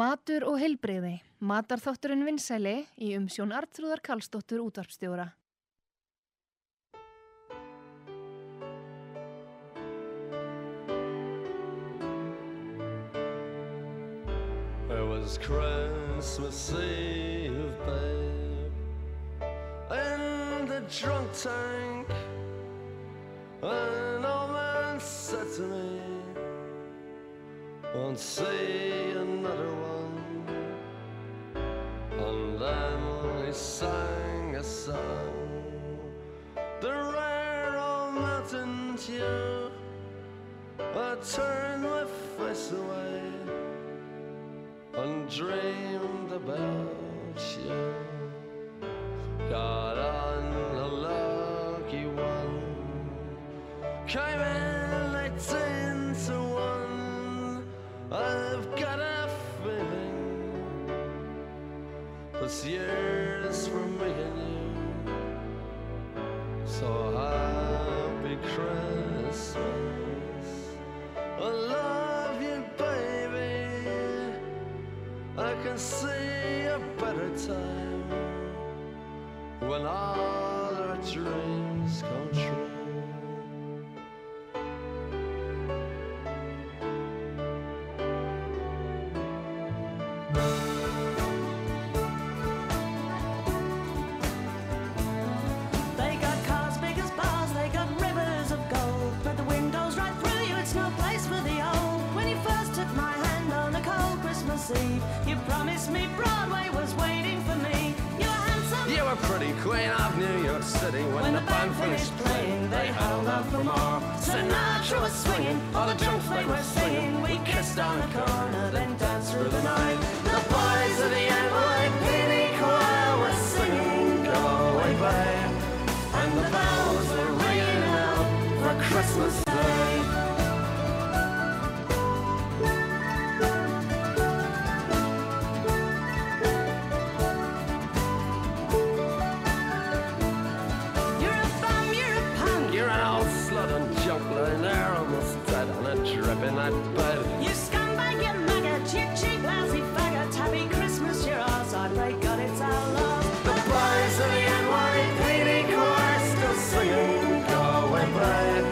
Matur og heilbreyði. Matarþátturinn vinsæli í umsjón Artrúðar Karlsdóttur útvarpstjóra. It was Christmas Eve, babe, in the drunk tank. An old man said to me, Won't see another one. And then he sang a song, the rare old mountain dew. I turned my face away and dreamed about you. Got on a lucky one, came in eighteen to one. I've got a feeling this year's for me and you. So happy Christmas. I love you, baby. I can see a better time when all our dreams come true. They got cars big as bars, they got rivers of gold. But the windows right through you, it's no place for the old. When you first took my hand on a cold Christmas Eve, you promised me Broadway was waiting for me. You were handsome. You were pretty queen of New York City when, When the band finished playing, they held out for more. Sinatra was swinging, all the drunks they were singing. We kissed on the corner, then danced through the night. The boys of the NYPD choir were singing, "Go away, babe." and the bells were ringing out for Christmas Day. You're a bum, you're a punk. You're an old slut and junk lying there almost dead on a dripping night bed. You scumbag, you maggot, cheap, cheap, lousy faggot. Happy Christmas, your ass. I pray God it's our love. The boys of the NYPD choir still singing, go away, babe.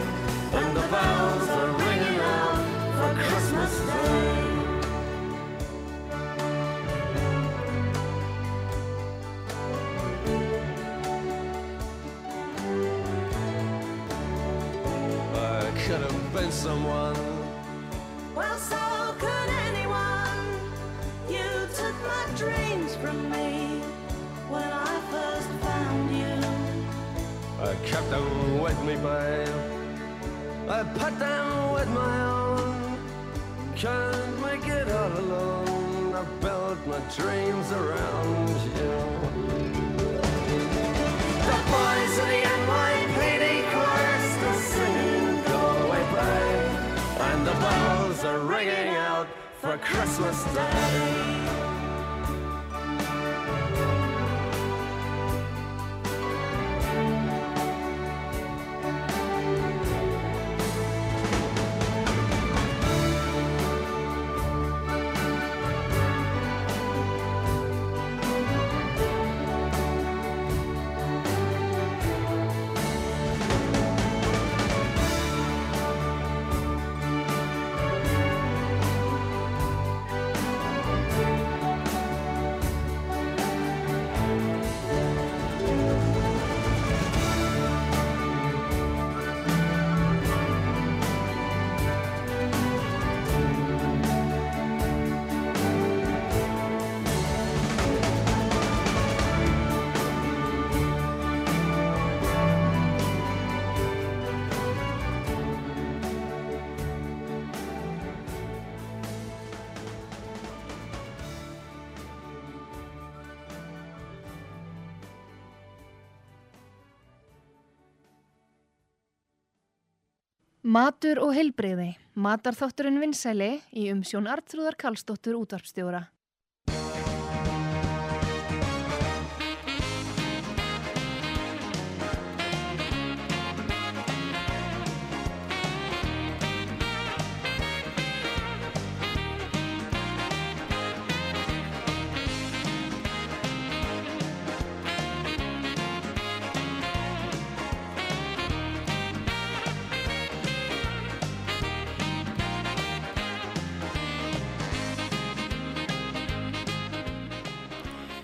And the bells are ringing out for Christmas Day. I could have been someone. Well, so could anyone. You took my dreams from me when I first found you. I kept them with me, babe. I put them with my own. Can't make it all alone. I built my dreams around you. The boys of the NYPD chorus are singing, go away, babe. And the bells are ringing out for Christmas Day. Matur og heilbreyði. Matarþátturinn vinsæli í umsjón Artrúðar Karlsdóttur útvarpstjóra.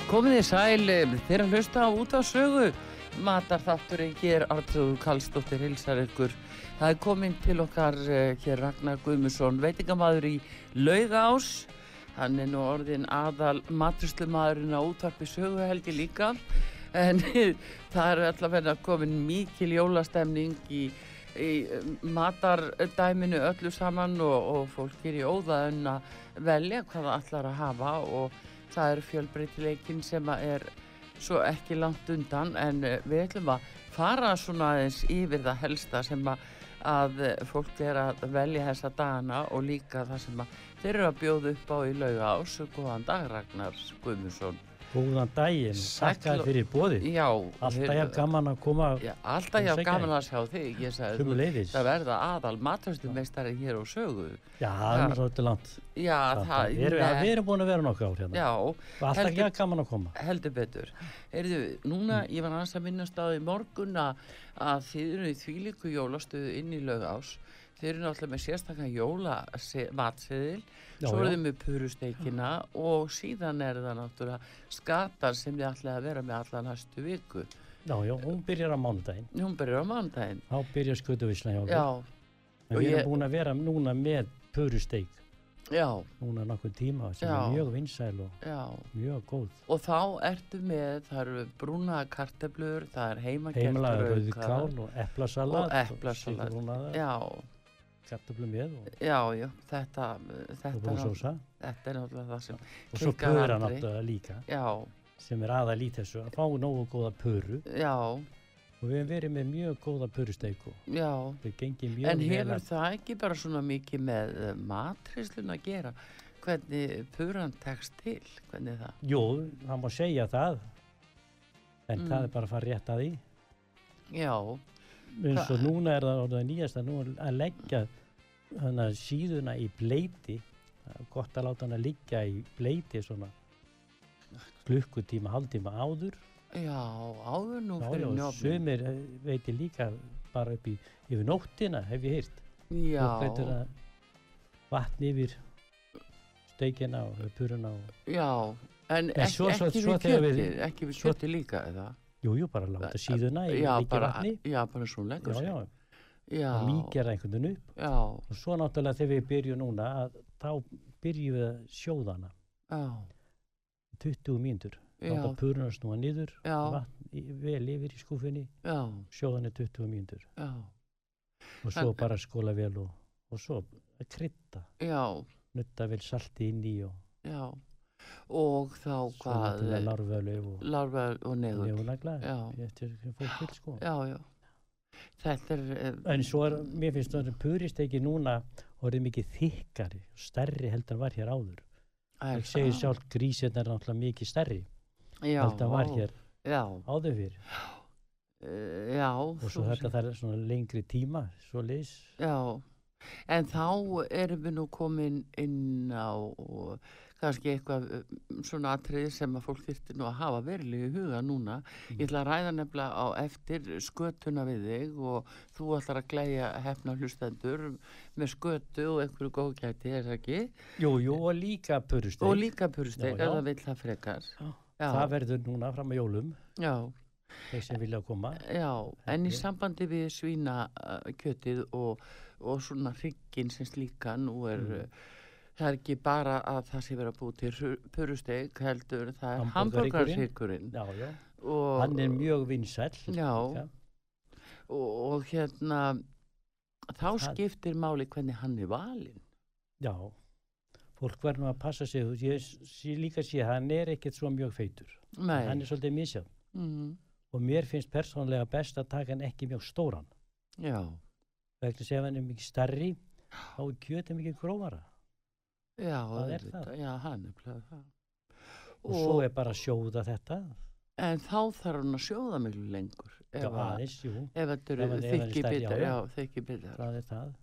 Komið þið sæl eh, þeir að hlusta á út af sögu. Matarþátturinn hér, Artrúður Karlsdóttir, hilsar ykkur. Það er komin til okkar eh, hér Ragnar Guðmusson, veitingamaður í Laugás. Hann er nú orðin aðal maturslumaðurinn á útvarpi sögu held ég líka. En það er allavega komin mikil jólastemning í, í eh, matardæminu öllu saman og, og fólk er í óðaðun að velja hvað það ætlar að hafa og það er fjölbreytileikin sem að er svo ekki langt undan en eh, við ætlum að fara svona aðeins yfir það helsta sem að, að eh, fólk er að velja þessa dagana og líka það sem að þeir eru að bjóða upp á í lauga ás góðan dag Ragnar Guðmundsson Góðan daginn, Sæll takk að og- fyrir bóðið. Já, Alltaf þeir- jafn gaman að koma Já, alltaf hjá Sækja gaman þig. að sjá þig ég sagði sömu þú leiðis. það verða aðal matvörslumeistari hér á sögu Já, það Já. er náttúrulega til langt. Já, það, Það, við, erum, nei, við erum búin að vera nokkuð ár hérna. Já, Og alltaf heldur- jafn gaman Mm. að koma. heldur betur. Heyrðu, núna, ég var aðeins að minnast á því morgun að, að þið eru í þvílíku jólastöðu inn í laugás. Þið eru náttúrulega með sérstakkan jólamatseðil, Já, svo eru já. þið með purusteikina og síðan er það náttúrulega skatar sem þið ætlaði að vera með alla næstu viku. Já, já, hún byrjar á mánudaginn. Hún byrjar á mánudaginn. Þá byrjar skutuvisla hjá okkur. Já, En og Við ég- erum búin að vera núna með purusteik. já, Núna nokkuð tíma sem Já. er mjög vinsæl og já. mjög góð. Og þá ertu með, það eru brúna karteblur, það er heimagertur Heimilaga rauðkál og eplasalat. og eplasalat. Sigurúnaða, Já, kartöflu með og, já, já, þetta, þetta, náttúrulega- og brúsósa. Þetta er náttúrulega það sem, Og svo Kinkaði pura aldrei. náttúrulega líka, já, sem er aðal í þessu. Að fá nógu góða puru. já, og við hefum verið með mjög góða purusteiku já. við gengið mjög En vel hefur að- það ekki bara svona mikið með matrislun að gera? Hvernig puran tekst til? Hvernig er það? jú, það má segja það en Mm. það er bara að fara rétt að því Já, eins og Hva- núna er það orðað nýjast að nú er að leggja hana, síðuna í bleiti Það er gott að láta hana liggja í bleiti svona klukkutíma, hálftíma áður já, áður nú Já, já, fyrir njófnum. sumir eh, veit ég líka bara upp í yfir nóttina hef ég heyrt Fólk lætur Já, að vatni yfir steikina og puruna og já, en En ekki, svo- svo- ekki svo við þegar við- kjötið, ekki við svo- kjötið líka, eða? Jú, jú, bara láta síðuna í Já, líki bara, vatni. já, bara svo hún Já, leggur sig. já, já, og líkjara einhvern veginn upp. já, Og svo náttúrulega þegar við byrjum núna, að, þá byrjum við að sjóða hana. já, 20 mínútur. já, Láta puruna snúa niður, já, vatn í- vel yfir í skúfinni, já, sjóða hana í 20 mínútur. já, Og svo En- bara skóla vel og, og svo að krydda, já, nutta vel salti inn í og já. Og þá svo hvað? náttúrulega larvölu og Larva og neður. nefnagla, Já. eftir hvernig fólk vil sko. Já, já. Þetta er... eh, En svo er, mér finnst það að puristeki núna orðið mikið þykkari, stærri heldur en var hér áður. það er Það segir það. sjálf grísinn er náttúrulega mikið stærri Já, heldur en var vá. hér Já, áður fyrir eh, já. og svo þetta þarf svona lengri tíma svo leys Já, en þá erum við nú komin inn á kannski eitthvað eh, svona atrið sem að fólk þyrfti nú að hafa verilegu huga núna. Mm. Ég ætla að ræða nefnilega á eftir skötuna við þig og þú ætlar að glæja hefna hlustendur með skötu og einhverju góðgæti, er það ekki? Jú, jú, og líka Og purusteg líka purusteg, Já, já. ef það vill það frekar. Já. Já, það verður núna fram að jólum já. þeir sem vilja koma Já, en í Þetta er- sambandi við svínakjötið og, og svona hrygginn sem slíka nú er, Mm. mm. það er ekki bara að það sé verið að búið til hrur- purusteg heldur, það er Hamborgarhryggurinn. hamburgarhryggurinn Já, já, og, hann er mjög vinsæll Já. líka. og, og hérna þá Það- skiptir máli hvernig hann er valinn. Já, fólk verður nú að passa sig þú- ég sé líka sé, hann er ekkert svo mjög feitur Nei, hann er svolítið misjafn mm, og mér finnst persónlega best að taka hann ekki mjög stóran já, vegna sem hann er mikið starri þá er kjötið mikið grófara já, Það er auðvitað, það. já, hann er plæðið það. og svo er bara að sjóða þetta En þá þarf hann að sjóða miklu lengur. ef Já, að- aðeins, jú, Ef þetta Ef eru hann- ef hann er þykki stærri, já, bitar, já. já, þykki bitar. það er það.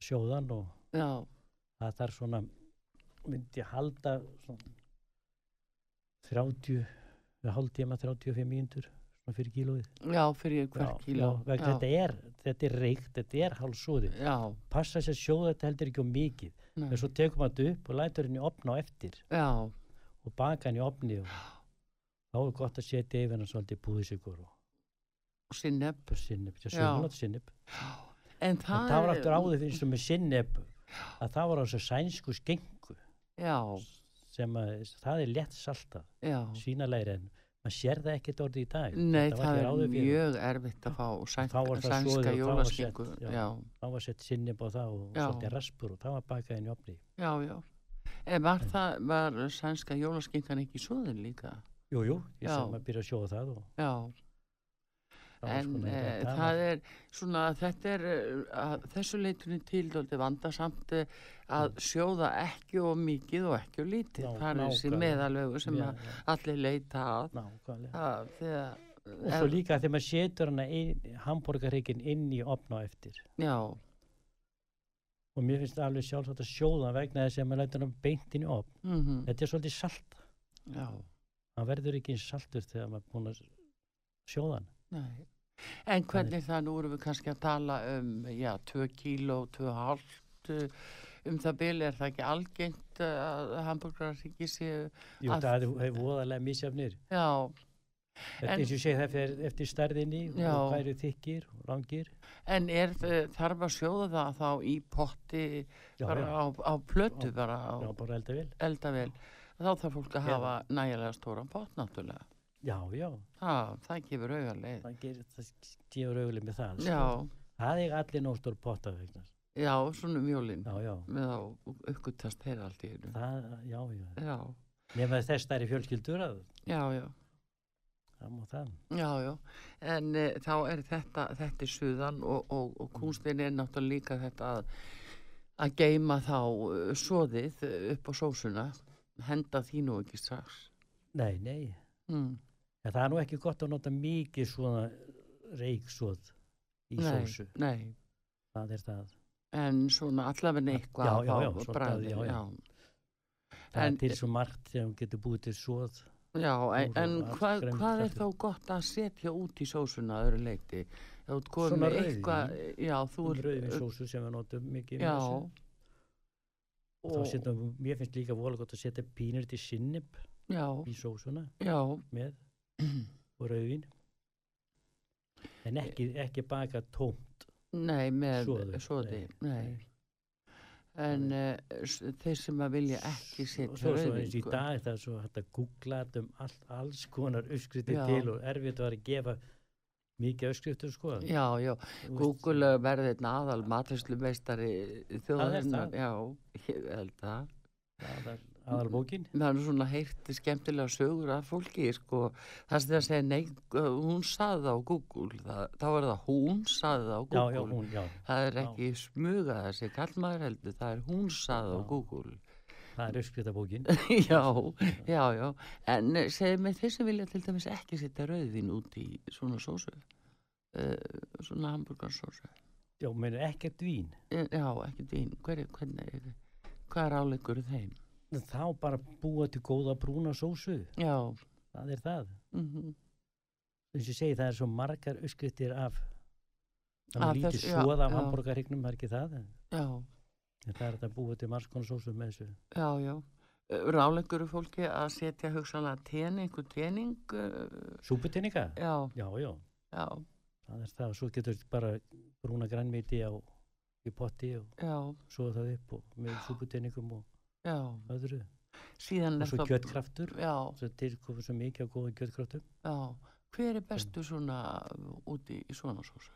Sjóðan og Já, það þarf svona, myndi ég halda svona 30, eða hálftíma 35 mínútur svona fyrir kílóið. já, fyrir hvert Já, kíló. já, vegna Þetta er, þetta er reykt, þetta er hálfsúði. Já, Passa sér að sjóða þetta heldur ekki um mikið. nei, En svo tekum maður þetta upp og lætur henni opna á eftir já, og og baka hann í opni og þá er gott að setja yfir hann svolítið búðisikur og sinneb. sinnip, Já. sjónalot sinnip En en það, það var aftur áður fyrir sem er sinnip að það var á þessu sænsku skengu Já, sem að það er létt saltað já. svínalegri en maður sér það ekkert orðið í dag Nei, Þetta var það ekki er ráðið fyrir. mjög erfitt að fá sænk, Þá var það soðið og sænska þá var jólaskingu. sett, Já. já. já, þá var sett sinnip á það og Já. svolítið raspur og það var bakað inn í opni já, En var það, var sænska jólaskingan ekki soðin líka? jú, jú, ég Já. sem að byrja að sjóða það og Já, það var en svona- e, þetta var- það er svona, þetta er eh, að þessu leitunni tildóldi vandasamt eh, að sjóða ekki og mikið og ekki og lítið. Ná- það er þessi nákvæmlega. meðalögu sem Já, að já, allir leita að. nákvæmlega. að þegar, og svo líka þegar maður setur hana hambúrgarreikin inn í opna á eftir Já, og mér finnst það alveg sjálfsagt að sjóða vegna þess að maður lætur hann beint inn í opn mm þetta er svolítið salt já, hann verður ekki eins saltur þegar maður er búin að sjóða hann nei. En hvernig það, nú erum við kannski að tala um, já, 2 kíló, 2,5 eh, um það byrja, er það ekki algengt eh, að hambúrgarar ekki séu, Jú, Að- það er, er voðalega misjafnir já, þetta En- eins og ég segi það fer eftir stærðinni og Já. hvað eru þykkir og langir en er, eh, þarf að sjóða það þá í potti, já, bara já, á, á plötu, bara á já, bara elda vel eldavél, þá þarf fólk að Já. hafa nægilega stóran pott, náttúrulega. já, já, Ha, það gefur auðarleið. það gerir það gefur auguleg með það sko. Já, það er allir nóg stór potta vegna já, svona mjólinn. já, já, með að uppgutast þeirra allt í einu. það, já, já Já, nema þess það er fjölskyldur að já, já, það má það já, já. En e, þá er þetta, þetta er suðan og, og, og Mm. kúnstin er náttúrulega líka þetta að, að geima þá eh, soðið eh, upp á sósuna, henda því nú ekki strax. nei, nei, Mm. en það er nú ekki gott að nota mikið svona reiksoð í nei, sósu, nei, það er það en svona allavega Já, eitthvað já, á- já, á svolítið, bragðið, já, já. það En- er til svo margt sem getur búið til svoð Já, en, Nú er en allt hvað, grænt hvað er kjötið. þá gott að setja út í sósuna að öðru leiti? Þú ert komið Svona með eitthvað, já, þú ert... rauðin sósu sem við notum mikið í Já. þessu. þá Og- setjum við, mér finnst líka vola gott að setja pínur til sinnip Já, í sósuna já, með og rauðin en ekki, ekki baka tóm nei, með Soði, soði, nei. nei. En uh, þeir sem að vilja ekki og setja sko. svo, svo eins og í rauðvíku. dag er það er svo hægt að googla þetta um all, alls konar uppskriftir Já. til og erfitt var að gefa mikið uppskriftir sko Þú Já, já, veist, Google verði einn aðal matrislumeistari þjóðarinnar, það. já, ég held það. aðal- aðalbókin Það er nú svona heyrti skemmtilega sögur af fólki, sko, það sem það segja, nei, uh, hún saði það á Google, það, þá er það hún saði það á já, Google. já, hún, já, Það er já. ekki smugað þessi kallmaður heldur, það er hún saði á Já. Google. það er uppskriftabókin já, já, já. En eh, segðu mig þeir sem vilja til dæmis ekki setja rauðvin út í svona sósu, uh, svona hambúrgarsósu. já, meni ekkert vín Eh, Já, ekki vín, hver, hvernig, hvað er áleikur þeim? þá bara búa til góða brúna sósu Já, það er það mm eins og ég segi það er svo margar uppskriftir af það Af er lítið þessu, já, svoða af já. hambúrgarhyggnum, það er ekki það en já, en það er hægt að búa til margs konar sósu með þessu já, já. Ráleikur fólki að setja hugsanlega tening, einhver tening, uh, súputinnika, já, já, já já, það er það og svo getur bara brúna grænmiti á í potti og já, svo það upp og með súputinningum og já. öðru Síðan og er svo þá- kjötkraftur Já, svo til komið svo mikið af góðum kjötkraftum Já, hver er bestu svona eh, úti í svona sósu?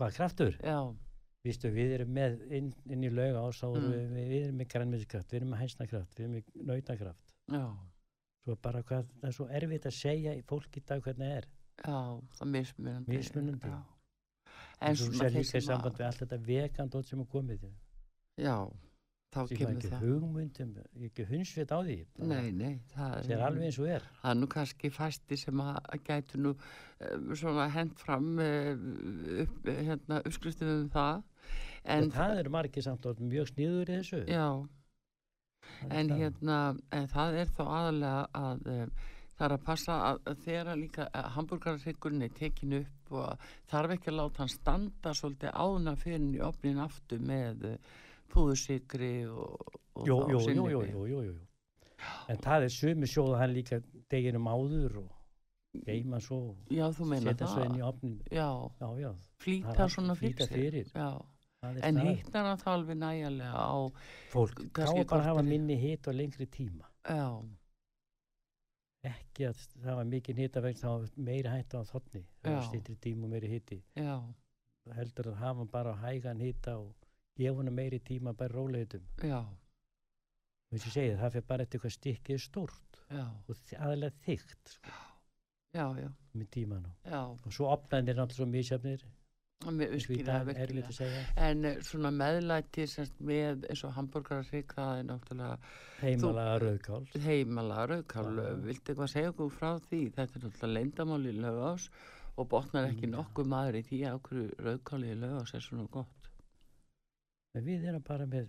hvað kraftur? Já, Vistu, við erum með inn, inn í lauga og sá erum Mm. við, við erum með grænmitikraft, við erum með hænsnakraft við erum með nautakraft já, svo bara hvað, það er svo erfitt að segja í fólk í dag hvernig það er já, það er mismunandi. Mismunandi. Já. En eins og þú svona sér þeir líka í sem samband að, við allt þetta vegandótt sem er komið já, þá sem er kemur ekki það. hugmyndum, ekki hundsveit á því bara Nei, nei, það það er alveg eins og er það er nú kannski fæsti sem að að gætu nú um, svona hend fram uh, upp, hérna, uppskriftum um það. en En, það eru margir samt orðnir mjög sniður í þessu já, Það er en það. hérna, en það er þá aðalega að um, það er að passa að að þegar að líka hambúrgararhryggurinn er tekin upp og að þarf ekki að láta hann standa svolítið áðuna fyrir henni í opnin aftur með eh, púðursykri og, og Jú, þá jú, jú, sinnepi. jú, jú, jú, jú. en það er sömu sjóða hann líka deginum áður og geima svo og Já, þú meina setja svo inn það. í opnin Já, já, já, Það er flýta allt- svona flýta fyrir. fyrir. Já, það er en staðan. hittar hann þá alveg nægjarlega á, fólk þá kannski er bara að hafa korteri. minni hit og lengri tíma já, ekki að það var mikið hita vegna þá er meiri hætta á þotni Já. stýttri tíma og meiri hiti já, heldur að hafa hann bara hægan hita og gefa hann meiri tíma bara róleitum já, og þess að segja það fyrir bara eftir hvað stikkið er stórt já, og þi- aðalega þykkt sko, já, já, með tíman og, já, og svo opnaðin er náttúrulega svo misjafnir með eins og í virkilega, dag er virkilega. lítið að segja En eh, svona meðlæti sérst, með eins og hambúrgararrygg, það er náttúrulega heimalega rauðkál heimala rauðkálu. Já. Viltu eitthvað segja okkur frá því? Þetta er náttúrulega leindamál í lögás og botnar ekki Já. nokkuð maður í því að okkur rauðkáli í lögás er svona gott. en við erum bara með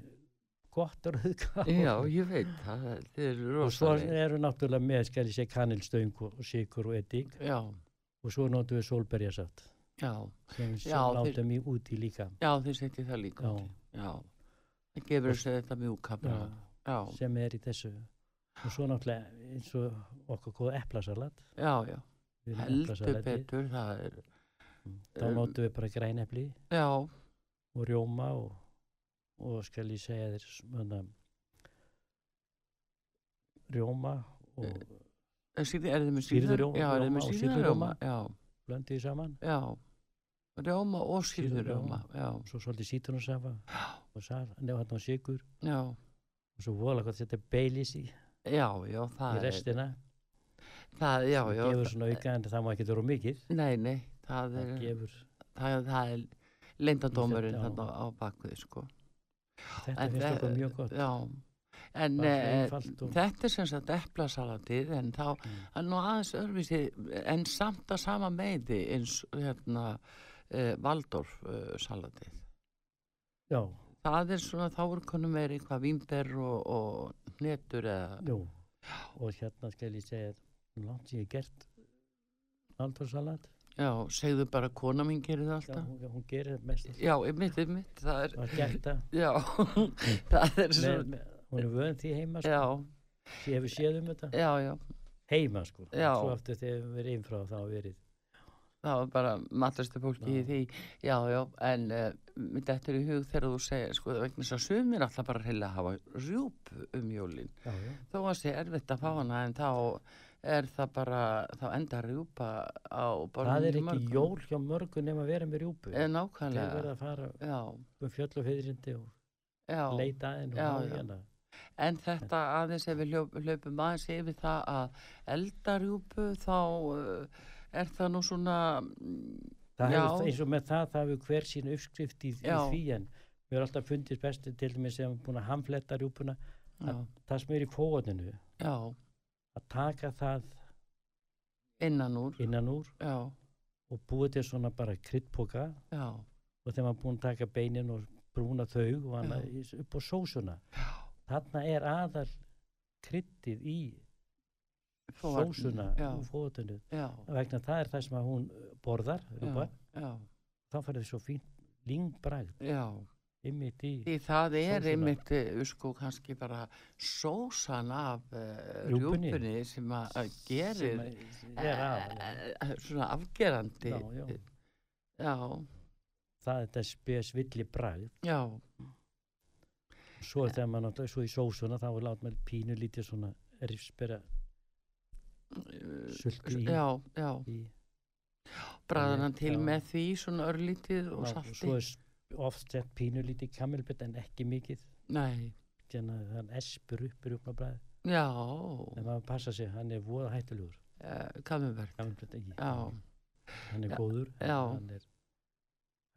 gott rauðkál Já, ég veit það, þið eru og svo rosalega. eru náttúrulega með skal ég segja kanilstöng og sikur og edik Já, og svo notum við sólberjasaft já, sem Já, við svo þeir- látum í út í líka já, þið setjið það líka. Já. út í. Já, það gefur þessu þetta mjúka já, bragð. Já, sem er í þessu og svo náttúrulega eins og okkar góð eplasalat já, já, við erum með heldur eplasalatið. betur, það er, þá Um, notum við bara grænepli já, og rjóma og, og skal ég segja þér svona rjóma og Eh. er sýrð- er þið með Sýrður síður? rjóma- Já, er þið rjóma með og síður sýrður rjóma? rjóma. Já. blöndið saman Já, rjóma og skýrður rjóma, Sýrðurjóma. já, og svo svolítið sítunusafa og sal, nefn hann og sigur já, og svo voðalega hvað þetta beilis í, já, já, í það er, restina það, já, það já, gefur svona auka en það má ekki vera of mikið það- nei, nei, það það er, gefur það, það er leyndadómurinn Þetta, já. þarna á bakvið, sko. þetta En finnst þe- okkur mjög gott Já, en Bara svo eh, einfalt og- þetta er sem sagt eplasalatið, en þá, Mm. hann nú aðeins örfísi, en samt að sama meði eins, hérna, eh, Valdorf eh, salatið. já, Það er svona, þá er konum verið eitthvað vínber og, og hnetur eða, jú og hérna skal ég segja þér, langt sem ég hef gert aldursalat já, segðu bara kona mín gerir það já, alltaf. hún, hún gerir mest Já, einmitt, einmitt, það er, að geta já, það er með, svona, með, hún er vöðin því heima sko. já, ég hefur séð um þetta já, já, heima sko Já. svo aftur þegar við verið inn frá þá hafa verið það var bara matlastu fólki í Já. því, já, já, en uh, þetta er í hug þegar þú segir, sko, vegna þess að sumir alltaf bara heila hafa rjúp um jólin, já, já. þó að sé erfitt að fá hana, en þá er það bara, þá enda rjúpa á bara það er ekki jól hjá mörgum nema að vera með rjúpu Eh, þeir verða nákvæmlega, að fara já, um fjöll og fyririndi og já. leita að henn og Já, hafa já. hérna En þetta aðeins ef við hljó- hlaupum aðeins yfir það að eldarjúpu þá uh, er það nú svona, mm, það Já. hefur, eins og með það, það hefur hver sín uppskrift í, í Já. því en við erum alltaf fundist bestu til dæmis sem búin að hamfletta rjúpuna já, það sem er í fóðuninu eh, já, að taka það innan úr, innan úr já, og búið til svona bara kryddpoka já, og þegar maður er búin að taka beinin og brúna þau og annað í- upp á sósuna þarna er aðal kryddið í Fóarnir, sósuna já. og fóðunni já, vegna það er það sem að hún uh, borðar já, rjúpar, já, þá færði svo fínt língbrægt já, ymmið í því það er Sósuna. einmitt, uh, sko, kannski bara sósan af uh, Rjúpunni. rjúpunni sem að uh, að sem gerir, að- er aðal já. eh, eh, svona afgerandi, Já, já. já, það er þetta spes villi bragð já, svo þegar maður náttúrulega svo í sósuna þá er látt með pínu lítið svona rifsbera eh, sultu í, já, já. í bræður Þannig, hann til já. með því svona örlítið og já, salti svo er s- oft sett pínu lítið kamilbett en ekki mikið nei, þannig að hann espur upp í rjúpnabræð já en maður passa sig, hann er voða hættulegur uh, kamerverk, kamilbett ekki, já, hann Já, er góður en já. hann er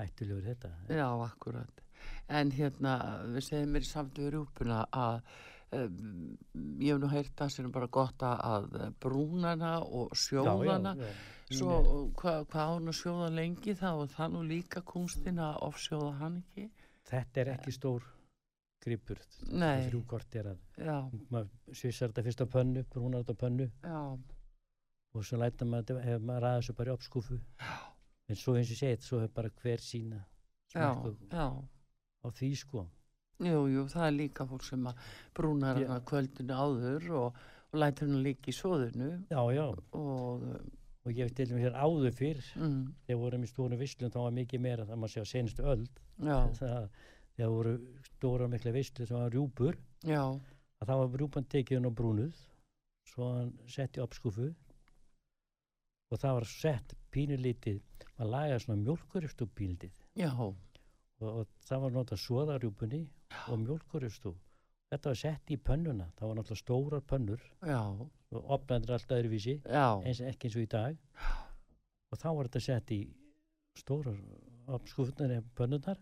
hættulegur þetta já, akkurat en hérna, við segjum mér í samt við rjúpuna að um, ég hef nú heyrt það sem er bara gott að- að brúnana og sjóðana já, hún svo er- hvað hva á hún að sjóða lengi þá er það nú líka kunstin að ofsjóða hann ekki þetta er ekki stór gripur Nei. þrjú kort er að já, maður svissar þetta fyrst á pönnu brúnar þetta á pönnu já, og svo lætur maður þetta- ef maður ræða þessu bara í uppskúfu en svo eins og ég segið, svo hefur bara hver sína já, smakku já á því sko Jú, jú, það er líka fólk sem að brúnar Já. hana kvöldinu áður og, og lætur hana líka í svoðinu Já, já, og og ég til dæmis hér áður fyrr mm, þegar vorum í stóru visslum þá var mikið meira það maður sé á senustu öld já, það, þegar voru stóra mikla visslu sem var rjúpur já, að þá var rjúpan tekiðin og brúnuð svo hann sett í uppskúfu og það var sett pínulítið maður lagaði svona mjólkurist úr pínulítið já, og, og það var notað soðarjúpunni og mjólkurist úr þetta var sett í pönnuna það var náttúrulega stórar pönnur já, og opnandir allt öðruvísi já, eins, ekki eins og í dag og þá var þetta sett í stórar opnskúfunar eða pönnunar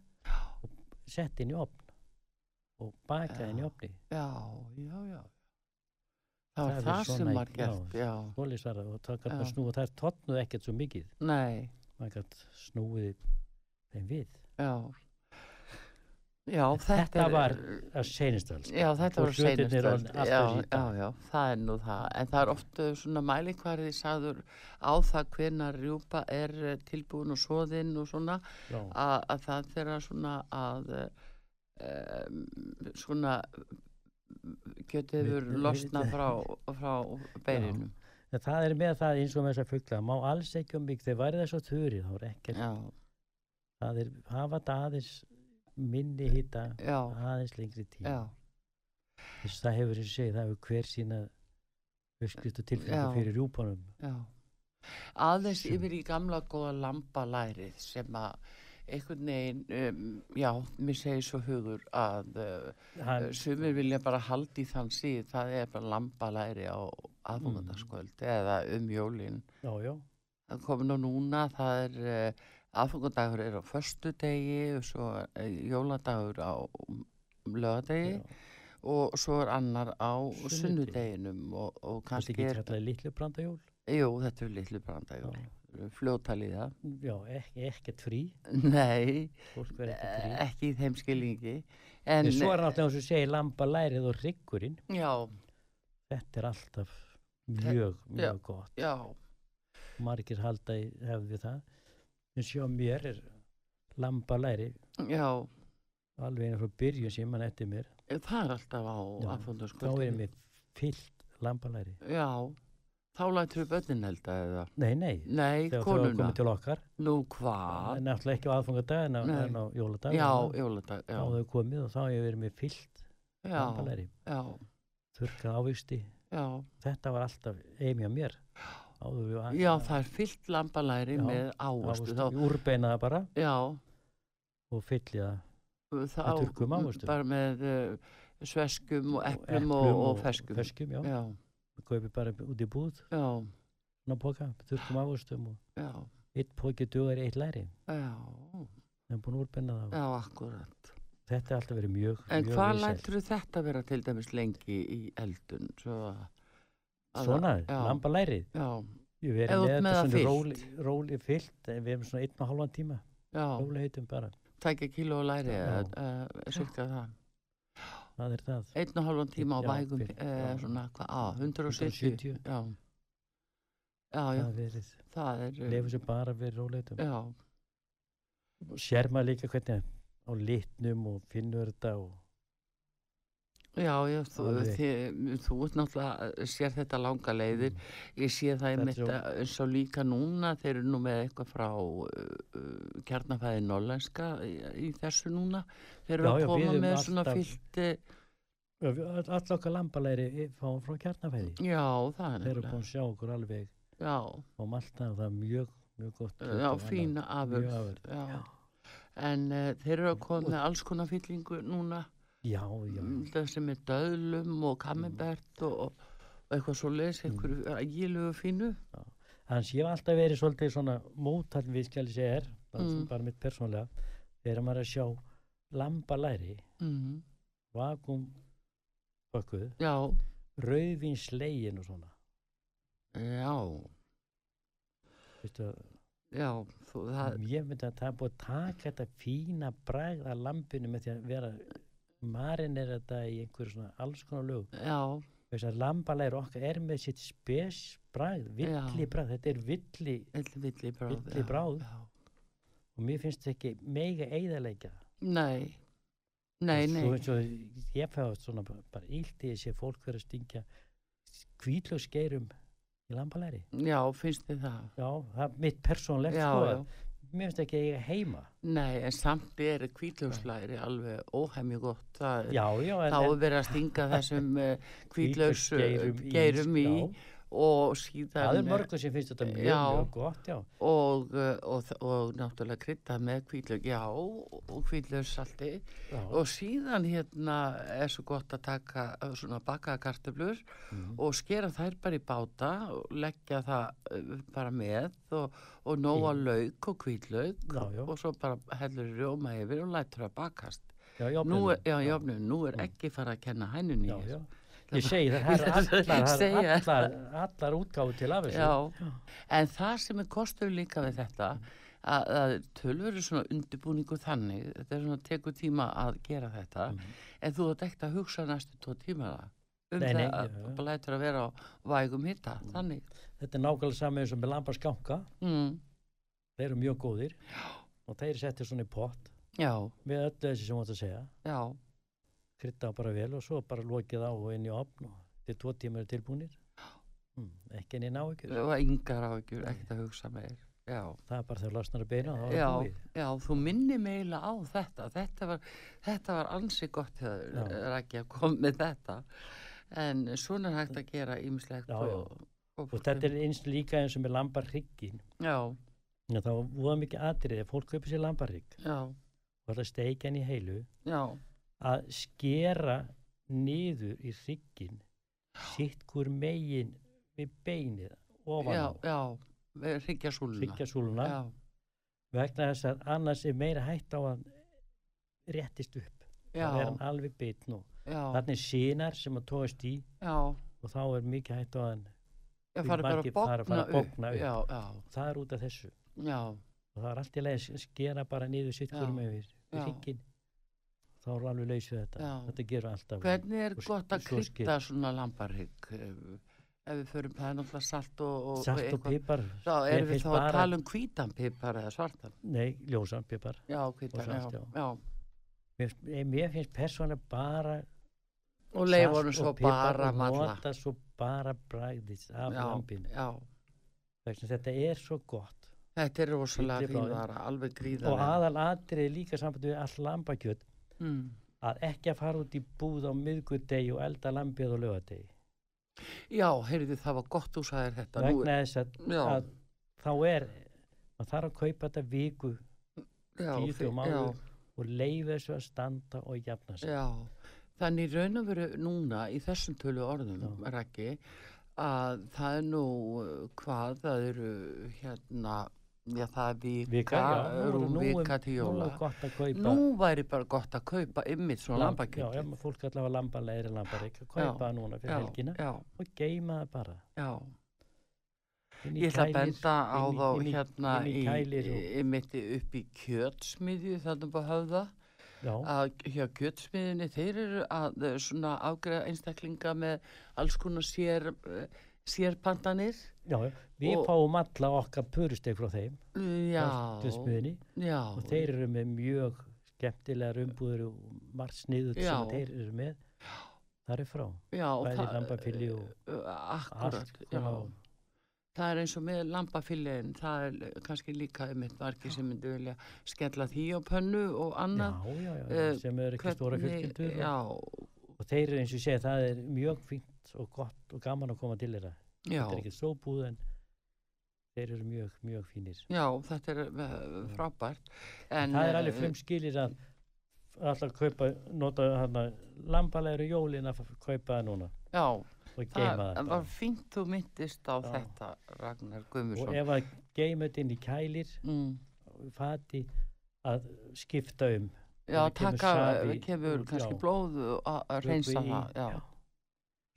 og sett inn í opn og bakað inn í Já. opni já, já, já. Það var Það er það svona sem í- var gert, já. já, Bólisvara og það gæti að Já. snúa þær tóttnuð ekkert svo mikið nei, maður gæti snúið þeim við já. Já, þetta, Þetta er- var- að seinist alls Já, þetta Og var hlutirnir seinast orðnir allt já, öðruvísi í já, dag. já, það er nú það en það er oft uh, svona mælikvarði sagður á það hvenar rjúpa er uh, tilbúin og svoðinn og svona já, að, að það þeirra svona að um, svona getið hefur Milli- losnað milli- frá, frá beirinum en það er með það eins og með þessar fuggla má alls ekki um mikið, þeir væri þess að þurri þá er ekkert, já, það er hafa þetta aðeins minni hitta já, aðeins lengri tíma já, Þess, það hefur þessi segið, það hefur hver sína uppskrift og tilfinningu Já. fyrir rjúpanum já aðeins Sem- yfir í gamla góða lambalærið sem að einhvern veginn, um, já, mér segir svo hugur að uh, hann, sumir vilja bara haldi þann síð, það er bara lambalæri á aðfangandaskvöld eða um jólin. já, já, Það komið nú núna, það er uh, aðfangandagur er á föstudegi og svo uh, jóladagur á lögadegi já. og svo er annar á Sunnudegi. sunnudeginum og, og þetta kannski ekki er, kallaði litlu brandajól jú, þetta er litlu brandagjól, Já. fljótaliða, já, ekki, ekkert frí nei, eh, fólk verður ekkert frí ekki í þeim skilningi, En en, svo er náttúrulega eins og segir lambalærið og ryggurinn, já, þetta er alltaf mjög, já. mjög gott. já, Margir halda í hefði við það. En sjá mér er lambalæri já, alveg einu frá byrjun sem mann eftir mér. það er alltaf á Já, Þá aðfangandaskvöld. er mér fyllt lambalæri. Já, þá lætur við börnin elda eða? Nei, nei, Nei, þegar þau hafa konuna. komið til okkar. Nú hvað? En náttúrulega ekki á aðfangadag en á, Nei. en á jóladag. Já, en jóladag, þá já. hafa þau komið og þá hefur verið mér fyllt Já, lambalæri. já, Þurkað ávisti. já. Þetta var alltaf eimi á mér. Áður við að- Já, það er fyllt lambalæri Já, með ávastu. ávöxtum. Þá, Ég úrbeina það bara já, og fylli það þá, Með þurrkuðum ávöxtum. bara með uh, sveskum og eplum og, og, feskum. feskum já. Já, Við kaupum bara út í búð já, svona póka, þurrkum ávöxtum og já, eitt póki dugar í eitt læri já, við erum búin að úrbenna það og já, akkurat. þetta er alltaf verið mjög, En mjög hvað vinsælt. lætur þetta vera til dæmis lengi í eldun? Svo að... að- svona, Já. lambalærið Já, við Ef erum þú með ert með þetta það svona róli, fyllt. róli fyllt en við erum svona einn og halvan tíma já, róli heitum bara, tækja kíló og læri, Já. uh, sirka það. það er það einn og halvan tíma á Já, vægum fyrir- eh, já. svona hvað, á, 170 170. já já, já, það verið, það er eh, lefum sem bara verið róli heitum já, og sér maður líka hvernig á litnum og finnur þetta og já, já þú, Alveg. þið, þú ert náttúrulega sér þetta langa leiðir ég sé það Mm. Þetta einmitt er- að- eins og líka núna þeir eru nú með eitthvað frá uh, kjarnafæði norlenska í, í þessu núna þeir eru Já, að já, við koma erum með svona alltaf- fyllt eh, all okkar lambalæri fáum frá kjarnafæði já, það er þeir eru búin nefnilega að sjá okkur alveg já, og malta og það er mjög, mjög gott kjöt já, og annað. fína afurð Mjög afurð, já. já. en uh, þeir eru að koma með alls konar fyllingu núna mm, já, já, Mm. það sem er döðlum og kamembert og, og eitthvað svo leis, einhverju ægilegu fínu. hans ég hef alltaf verið svolítið svona mótall við skjali sér bara, Mm. bara mitt persónlega þegar maður er að sjá lambalæri Mm. vakum bakkuð, Já, rauðvinslegin og svona já, Vistu, já, þú, það, ég myndi að það er búið að taka þetta fína bragð að lambinu með því að vera marinn er þetta í einhverju svona alls konar lög já, þess að lambalæri okkar er með sitt spes bragð, villi bragð þetta er villi eitthvað villi bráð. Villi já, bráð. Já. og mér finnst þetta ekki mega eigðarleika Nei, nei, nei, Svo, svo, ég fæði svona bara bara illt í þessi fólk verið að stingja kvítlöksgeirum í lambalæri já, finnst þið það? já, það er mitt persónlegt Já, sko, já, að mér finnst ekki að ég er heima nei, en samt er kvítlaugslæri alveg óhemju gott, það já, já, en, þá er en verið að stinga þessum kvítlaugs hvítlauksgeirum í- geirum í já, og það síðan er mörgum sem finnst þetta mjög, já. mjög gott já, og, eh, og, þ- og náttúrulega kryddað með kvítlaug, já, og kvítlaugssalti já, og síðan hérna er svo gott að taka eh, svona bakaða kartöflur Mhm. og skera þær bara í báta og leggja það eh, bara með og, og nóa Í- lauk og kvítlaug Já, já. og svo bara hellur rjóma yfir og lætur það bakast. já, já, Nú er, já, já, já, nú er ekki fara að kenna hænunni já, já. Ég segi það, það Ég er allar, það segi eru það. allar, allar útgáðu til af þessu. Já, en það sem er kostur líka við þetta Mhm. að, að tölvur er svona undirbúningu þannig, þetta er svona tekur tíma að gera þetta, Mhm. en þú ert ekkert að hugsa næstu tvo tíma um Nei, það nei, að já, já. þú bara lætur að vera á vægum hitta, þannig Þetta er nákvæmlega saman eins og með lambaskanka. mm, Þeir eru mjög góðir og þeir settir svona í pott já, með öllu þessi sem þú átt að segja. já, Krydda bara vel og svo bara lokið á og inn í opn og til tvo tíma eru tilbúinir. Mm, ekki en ég ná ekki. og yngar á ekki ekkert að hugsa meir, já Það er bara þegar lasnar að beina og það Já, er búið. já, þú minni mig eiginlega á þetta. Þetta var, þetta var ansi gott þegar Já. Rækja kom með þetta. En svona er hægt að gera ýmislegt Já, já. og, og, Og þetta er eins líka eins og með lambarryggin. Já, Já, það var voða mikið atrið ef fólk kaupir sér lambarrygg já, og ætlar að steikja hann í heilu já, að skera niður í hrygginn sitt hver megin við beinið ofan já, á já, hryggja súluna. hryggjasúluna Já, vegna þess að annars er meira hægt á að hann réttist upp já, það er hann alveg bitn og já, þarna er sínar sem að tóast í já, og þá er mikið hægt á að hann ég fari Því bara að margir fara- bókna fara að upp. bogna upp. Já, já, það er út af þessu já, og það er allt í lagi að skera bara niður sitt Já, hver megin við, já. við hrygginn þá er alveg lausið þetta Já. þetta gerur alltaf Hvernig er Og s- gott að svo skil- krydda svona lambarhygg? Ef ef við förum, það er náttúrulega salt og, og salt og eitthvað. pipar Þá Mér erum við finnst þá að bara- tala um hvítan pipar eða svartan. nei, ljósan pipar Já, hvítan, svart, já, já. já. mér, mér finnst persónlega bara Og leif honum salt svo og pipar bara og matla. nota svo bara bragðis af Já, lambinu já. Vegna þetta er svo gott Þetta er rosalega Hvíti fín bráðin. vara, alveg og gríðarlega. aðal atrið líka sambandi við allt lambakjöt Mm. að ekki að fara út í búð á miðgudegi og elda lambið á lögadegi Já, heyrðu, það var gott þú sagðir þetta. Nú- vegna þess að, já, að þá er maður þarf að kaupa þetta viku já, tíu fi- dögum já, áður og leifa þessu að standa og jafna sig já. Þannig í raun og veru núna í þessum tölu orðum, Já. Rækki, að það er nú uh, hvað, það eru hérna, já það er vika, já, nú er- rúm nú er- vika til nú jóla. er gott að kaupa Nú væri bara gott að kaupa ymmið svona lamb- já, lambakjöti. ef maður fólk allavega lambalegri lambareik að kaupa það núna fyrir helgina já, og geima það bara já. inn í Ég ætla að kælir, benda á þá inn í- inn í- hérna inn í í, kælir og- í mitti upp í kjötsmiðju þarna bara höfða já, að hjá kjötsmiðjunni þeir eru að eh, svona afgreða einstaklinga með alls konar sér, eh, sérpantanir já, við og- fáum alla okkar purusteg frá þeim Já, smiðinni, já, og þeir eru með mjög skemmtilegar umbúður og margt sniðut sem Já. að þeir eru með þar er frá, já, og bæði það- lambafili og eh, allt Akkurat, konar já. Það er eins og með lambafilin, það er eh, kannski líka um eitt margi sem myndi vilja skella því á pönnu og annað. já, já, já, eh, sem eru ekki stóra Hvernig- fjölskyldur og, Já, og þeir eru eins og ég segi það er mjög fínt og gott og gaman að koma til þeirra já. þetta er ekki sóbúð en þeir eru mjög, mjög fínir Já, þetta er eh, frábært. En, það er alveg eh, frumskilir að alltaf kaupa, nota hana lambalegri jólin að f- kaupa það núna Já, og það geima það bara. var fínt þú myndist á Já. þetta, Ragnar og Guðmursson. ef að geima þetta inn í kælir Mm. fati að skipta um Já, það kemur taka, safi kemur út, kannski já. blóð og að- að vökvi reynsa í- það. Já,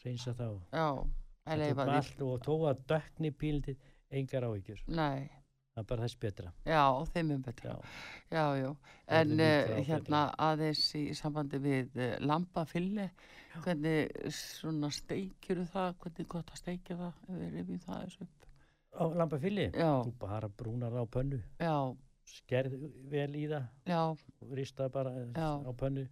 reynsa þá já, en Þetta ef er að bara því, allt og þó að dökni pílindið engar áhyggjur, nei, það er bara þess betra já, þeim er betra. já, Já, já, Það en er uh, líka ágætlega. hérna aðeins í sambandi við uh, lambafille, hvernig svona steikjur það, hvernig gott að steikja það, ef við rifjum það þessu upp. á lambafili Já, þú bara brúnar það á pönnu já, skerð vel í það já, og rista það bara Já. á pönnu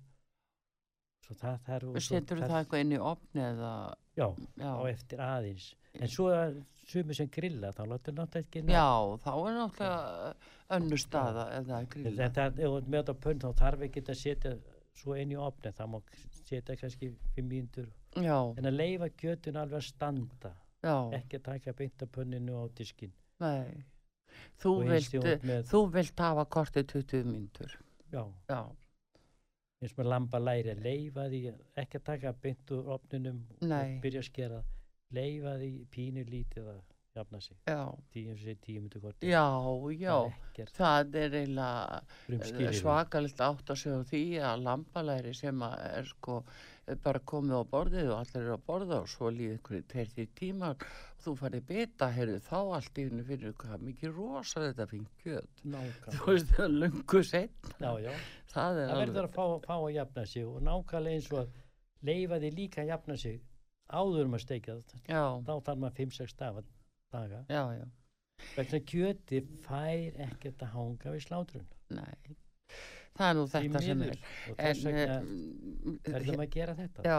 svo það þarf og svo Setur það eitthvað inn í opni eða, já, já, á eftir aðeins en svo er sumir sem grilla þá látur náttúrulega ekki ná- já, þá er náttúrulega önnu staða eða en grilla. það, ef þú ert með þetta pönn þá þarf ekki að setja svo inn í opni það má setja kannski fimm mínútur Já, en að leifa kjötun alveg að standa já, ekki að taka beint af pönninu á diskin nei. Þú Og eins vilt, eh, því hún með- þú vilt hafa kortið 20 myndur. já, Já, eins með lamba læri að leifa því ekki að taka beint úr opninum Nei. og byrja að skera leifa því pínu lítið að jafna sig já, tíu, eins og segir, tíu myndu korti já, já. Það er eiginlega eh, frumskýrir svakalegt átt að segja því að lambalæri sem að er sko bara komið á borðið og allir eru á borða og svo líði ykkur tveir því tíma og þú farið bita, heyrðu þá allt í hennu fyrir ykkur það er mikið rosa þetta fengt kjöt þú nákvæmlega veist það er lungu sett já, já, það er það verður að fá, fá að jafna sig og nákvæmlega eins og að leifa því líka að jafna sig áður um að steikja það já, þá þarf maður 5-6 daga daga já, já, vegna kjöti fær ekkert að hanga við slátrun nei það er nú Því þetta sem miður. er og þess vegna en, eh, verðum að gera þetta Já,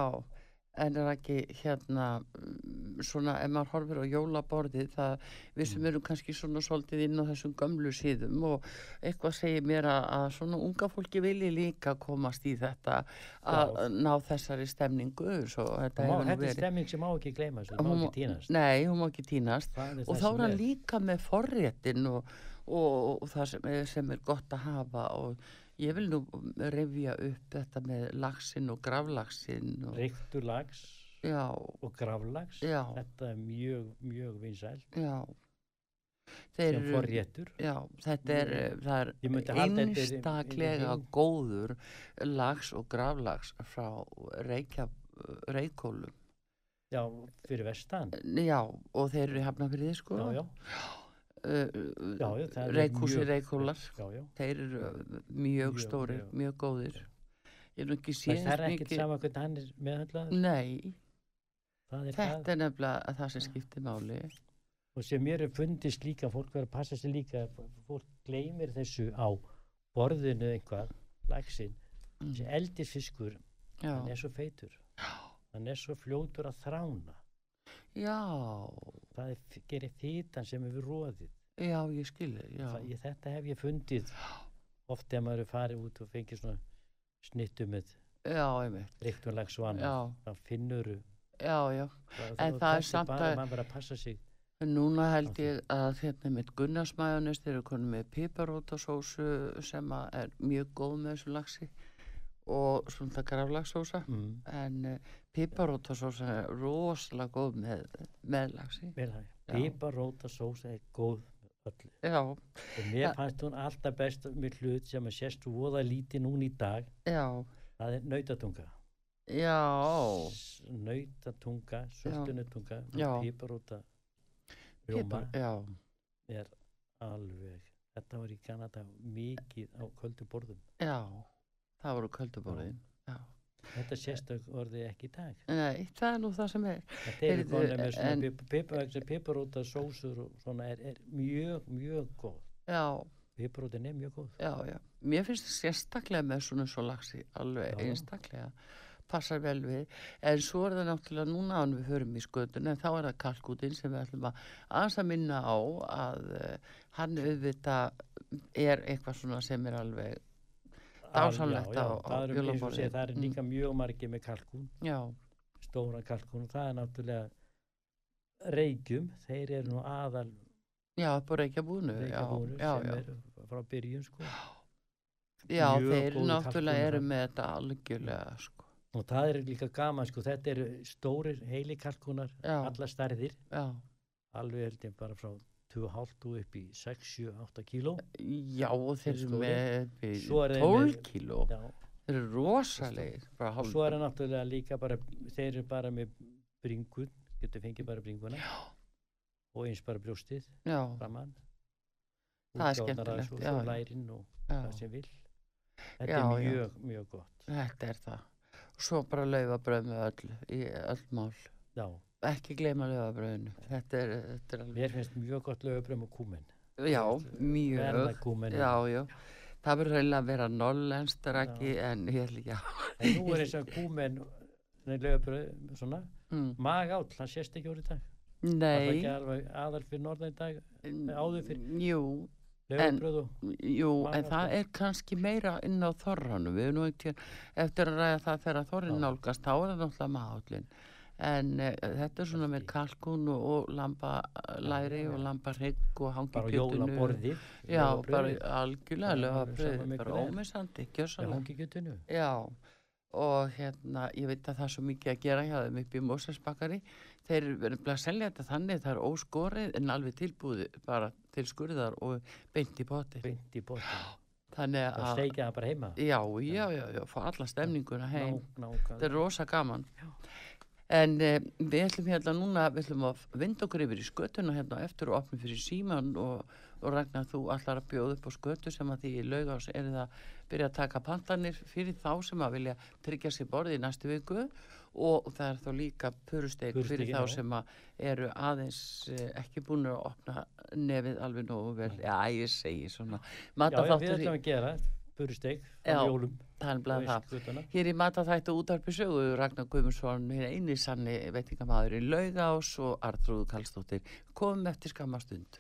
en er ekki hérna mm, svona ef maður horfir á jólaborðið það við Mm. sem erum kannski svona svolítið inn á þessum gömlu síðum og eitthvað segir mér að, að svona unga fólki vilji líka komast í þetta að Já. ná þessari stemningu svo þetta Og má, hefur nú þetta er verið. stemming sem má ekki gleyma sem má Hún ekki má- týnast Nei, hún má ekki týnast Það er og það þá sem er hann er. líka með forréttin og, og, og það sem er, sem er gott að hafa og ég vil nú revja upp þetta með laxinn og gravlaxinn og, reyktur lags já, og gravlags Já. þetta er mjög, mjög vinsælt Já. Þeir sem eru- forréttur Já, þetta er, eh, Mjög. það Ég myndi er halda þetta er- einstaklega ein- góður lags og graflags frá reykja, reykólum. já, fyrir vestan Já, og þeir eru hafna fyrir því Eh, sko. já, já, Uh, já, já, það er Reykhúsi mjög- reykólar. já, já. Þeir eru mjög, mjög Mjög, stórir, mjög. mjög góðir. Ég er nú ekki Það, séð það er eins ekkert sama hvernig hann er meðhandlaður Nei, það er það þetta er nefnilega það sem skiptir máli. og sem mér er fundist líka, fólk verður að passa sér líka fólk gleymir þessu á borðinu einhvað lagsin, Mm. þessi eldisfiskur Já, hann er svo feitur hann er svo fljótur að þrána já, það er, f- gerir þýtan sem hefur róðið já, ég skilði, já. Það- ég, þetta hef ég fundið oft ef maður er farið út og fengið svona snittu með Já, einmitt, reyktunlegs vana já, það finnur já, já. En það er samt bara, að- maður bara að passa sig En Núna held Áfram. ég að hérna mitt gunnarsmæðanist eru konum með piparótasósu sem að er mjög góð með þessu laxi og svona graflagsósa mm, en uh, piparótasósa er rosalega góð með, með laxi. vel það Já. piparóta sósa er góð með öllu Já, og Það- mér fannst hún alltaf best með hlut sem að sérst voða lítið núna í dag já, það er nautatunga já, S- nautatunga, sultunutunga Já. piparóta rjóma pipar, já, er alveg þetta var í Kanada mikið á köldum borðum já, það voru köldubóriðin. þetta sérstök orðið ekki í dag Nei, það er nú það sem er. þetta er Heyrðu, konar með en- svona piparóta piparóta sósur og svona er, er mjög mjög góð Já, piparótin er mjög góð já, já. Mér finnst það sérstaklega með svona svo laxi, alveg Já, já. einstaklega, passar vel við. En svo er það náttúrulega núna án við förum í skötun, en þá er það kalkútin sem við ætlum að aðeins að minna á að uh, hann auðvitað er eitthvað svona sem er alveg, Dásamlegt Já, já, á- á það eru- eins og jólaborðið. segir, það er Mm. líka mjög margir með kalkún já, stóran kalkun og það er náttúrulega reykjum, þeir eru nú aðal já, upp á reykjabúnu, já, reykjabúru já, sem já. eru frá byrjun sko Já, þeir mjög góður kalkúnar. náttúrulega eru með þetta algjörlega, sko. og það er líka gaman sko, þetta eru stórir heili kalkunar, Já, alla stærðir já, alveg held ég bara frá 2,5 upp í 6-7-8 kíló já, og þeir eru stórir. með upp í Svo eru þeir 12 með- kíló, Já, þeir eru rosalegir, bara og hálf. svo er það náttúrulega líka bara, þeir eru bara með bringun, getur fengið bara bringuna og eins bara brjóstið Já, framann Það er útgáfurnar aðeins skemmtilegt, og já, já. svo lærin og já. það sem vil þetta Já, er já. mjög, mjög gott Þetta er það. Svo bara laufabröð með öll, í öll mál. já, Ekki gleyma laufabröðinu. Þetta er, þetta er alveg, mér finnst mjög gott lögabröðum og kúmen já, mjög, verðakúmen já, já. það verður reyla að vera nollenskt raki en ég ætla ekki að En nú er eins og kúmen lögabröð, svona, mm. magáll, hann sést ekki úr í dag. Var það ekki Nei, alveg aðal fyrir norðan í dag, áður fyrr? mm, jú, lögabröð og... jú en Maga- það er kannski meira inn á þorranum við erum nú ekki eftir að ræða það þegar þorrin Já. nálgast, þá er það náttúrulega maðullin en e, þetta er svona með kalkun og, og lambalæri og lambarhygg og bara á hangikjötunu jólaborðið Já, jólabrauðið, bara algjörlega Það er löfa sama með bara hvað það er. ómissandi, með gjössalega hangikjötinu Já, og hérna, ég veit að það er svo mikið að gera hjá þeim upp í Mósesbakari. Þeir verður að selja þetta þannig, það er óskorið en alveg tilbúði bara til skurðar og beint í potir. beint í bóttin Þannig það að, steikja það bara heima já, já, já, já, fá alla stemninguna heim. Ná- nákvæmlega. Þetta er rosa gaman. En eh, við ætlum hérna núna, við ætlum að vinda okkur yfir í skötuna hérna á eftir og opna fyrir síman og, og Ragnar, þú allar að bjóða upp á skötu sem að því í laugás er það að byrja að taka pantanir fyrir þá sem að vilja tryggja sér borðið í næstu viku og það er þá líka purusteik fyrir Purusteik, þá já. sem að eru aðeins eh, ekki búin að opna nefið alveg nógu vel. Já, ég segi svona. já, já, við Matarþáttur í- ætlum að gera burusteik á Já, jólum það er og bara um það. skutana Hér í mataþættu útarpi sögu Ragnar Guðmundsson, hér eini sanni veitingamæðurinn Laugás og Artrúðu Kallstóttir. Komum eftir skammastund.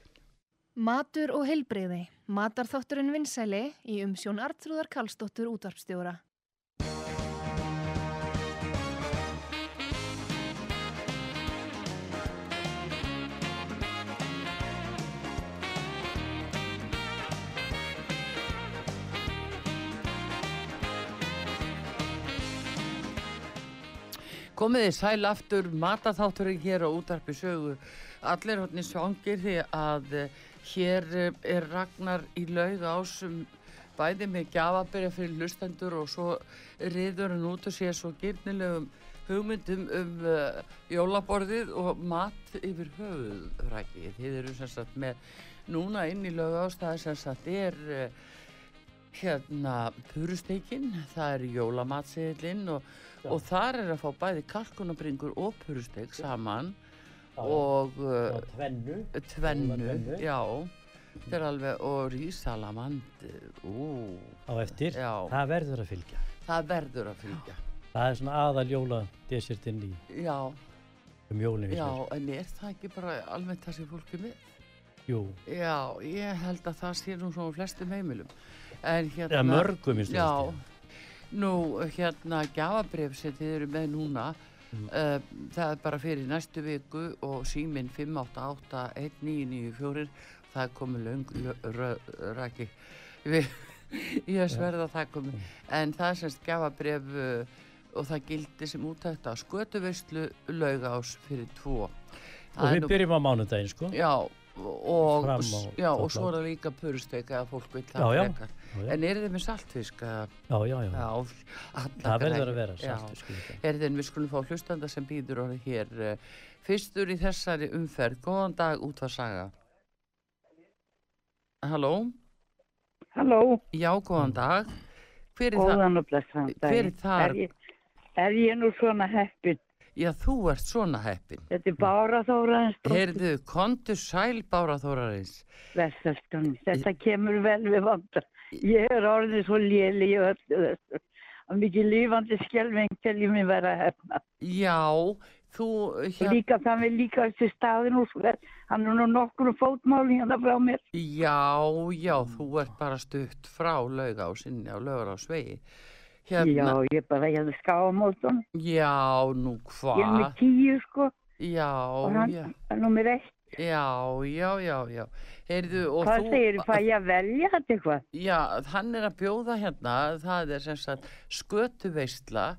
Matur og heilbrigði. Matarþátturinn vinsæli í umsjón Artrúðar Karlsdóttur útarpstjóra. Komiði sæl aftur, mataþátturinn hér á útarpi sögu. Allir hodni svangir því að eh, hér eh, er Ragnar í Laugás um bæði með gjafabyrja fyrir hlustendur og svo riður hann út og sé svo gyrnilegum hugmyndum um uh, jólaborðið og mat yfir höfuðrækið. Þið eru sem sagt með núna inn í lögástaði sem sagt er uh, hérna purusteikinn, það er jólamatseðilinn og, Já. og þar er að fá bæði kalkunabringur og purusteik saman og og uh, tvennu tvennu, Jólatvennu. já, þetta er alveg og rísalamandi, ú, á eftir já, það verður að fylgja það verður að fylgja. það er svona aðal jóla desertinn í Já, um jólin já, en er það ekki bara almennt það sem fólk er með? jú Já, ég held að það sé nú svona á flestum heimilum. En hérna... eða mörgum í Já, nú hérna gjafabref sem þið eru með núna Mhm. uh, það er bara fyrir næstu viku og síminn 5881994 það er komið löng lö- röð- raki við ég sverða að það Mm. komi en það er semst gjafabref uh, og það gildi sem útætt á skötuveyslu laugás fyrir tvo og við byrjum á mánudaginn sko já og, Fram s- á- já, og þarna. svo er það líka purusteika að fólk vil Já, það já. frekar já, en eru þið með saltfisk að já, já, já. Já, það verður að vera saltur. saltur, sko, þetta. Erðin, við skulum fá hlustanda sem býður orðið hér. eh, Fyrstur í þessari umferð, góðan dag út var saga. Halló, Halló, já, Mm. góðan dag. Hver er það? góðan og blessaðan dag. Hver er þar? Er ég, er ég nú svona heppin? Já, þú ert svona heppin. Þetta er Bára Þóraðins bróttur Heyrðu, kontu sæl Bára Þórarins. versastunum. Þetta kemur vel við vandar. Ég er orðin svo léli í öllu þessu. Að mikið lífandi skelving til ég mér vera hefna. Já, þú, hérna, Og hér, líka það með líka þessi staðin úr svo vel. Hann er nú nokkur fótmáli hérna frá mér. já, já, þú ert bara stutt frá laugásinni á laugarásvegi. Hérna, Já, ég bara ég hefði skáamótun. já, nú Ég er með hvað? tíu sko. Já, og hann já. er nummer eitt. Já, já, já, já. Heyrðu, og Hvað þú... segir, fæ ég að velja þetta eitthvað? Já, hann er að bjóða hérna, það er sem sagt skötuveisla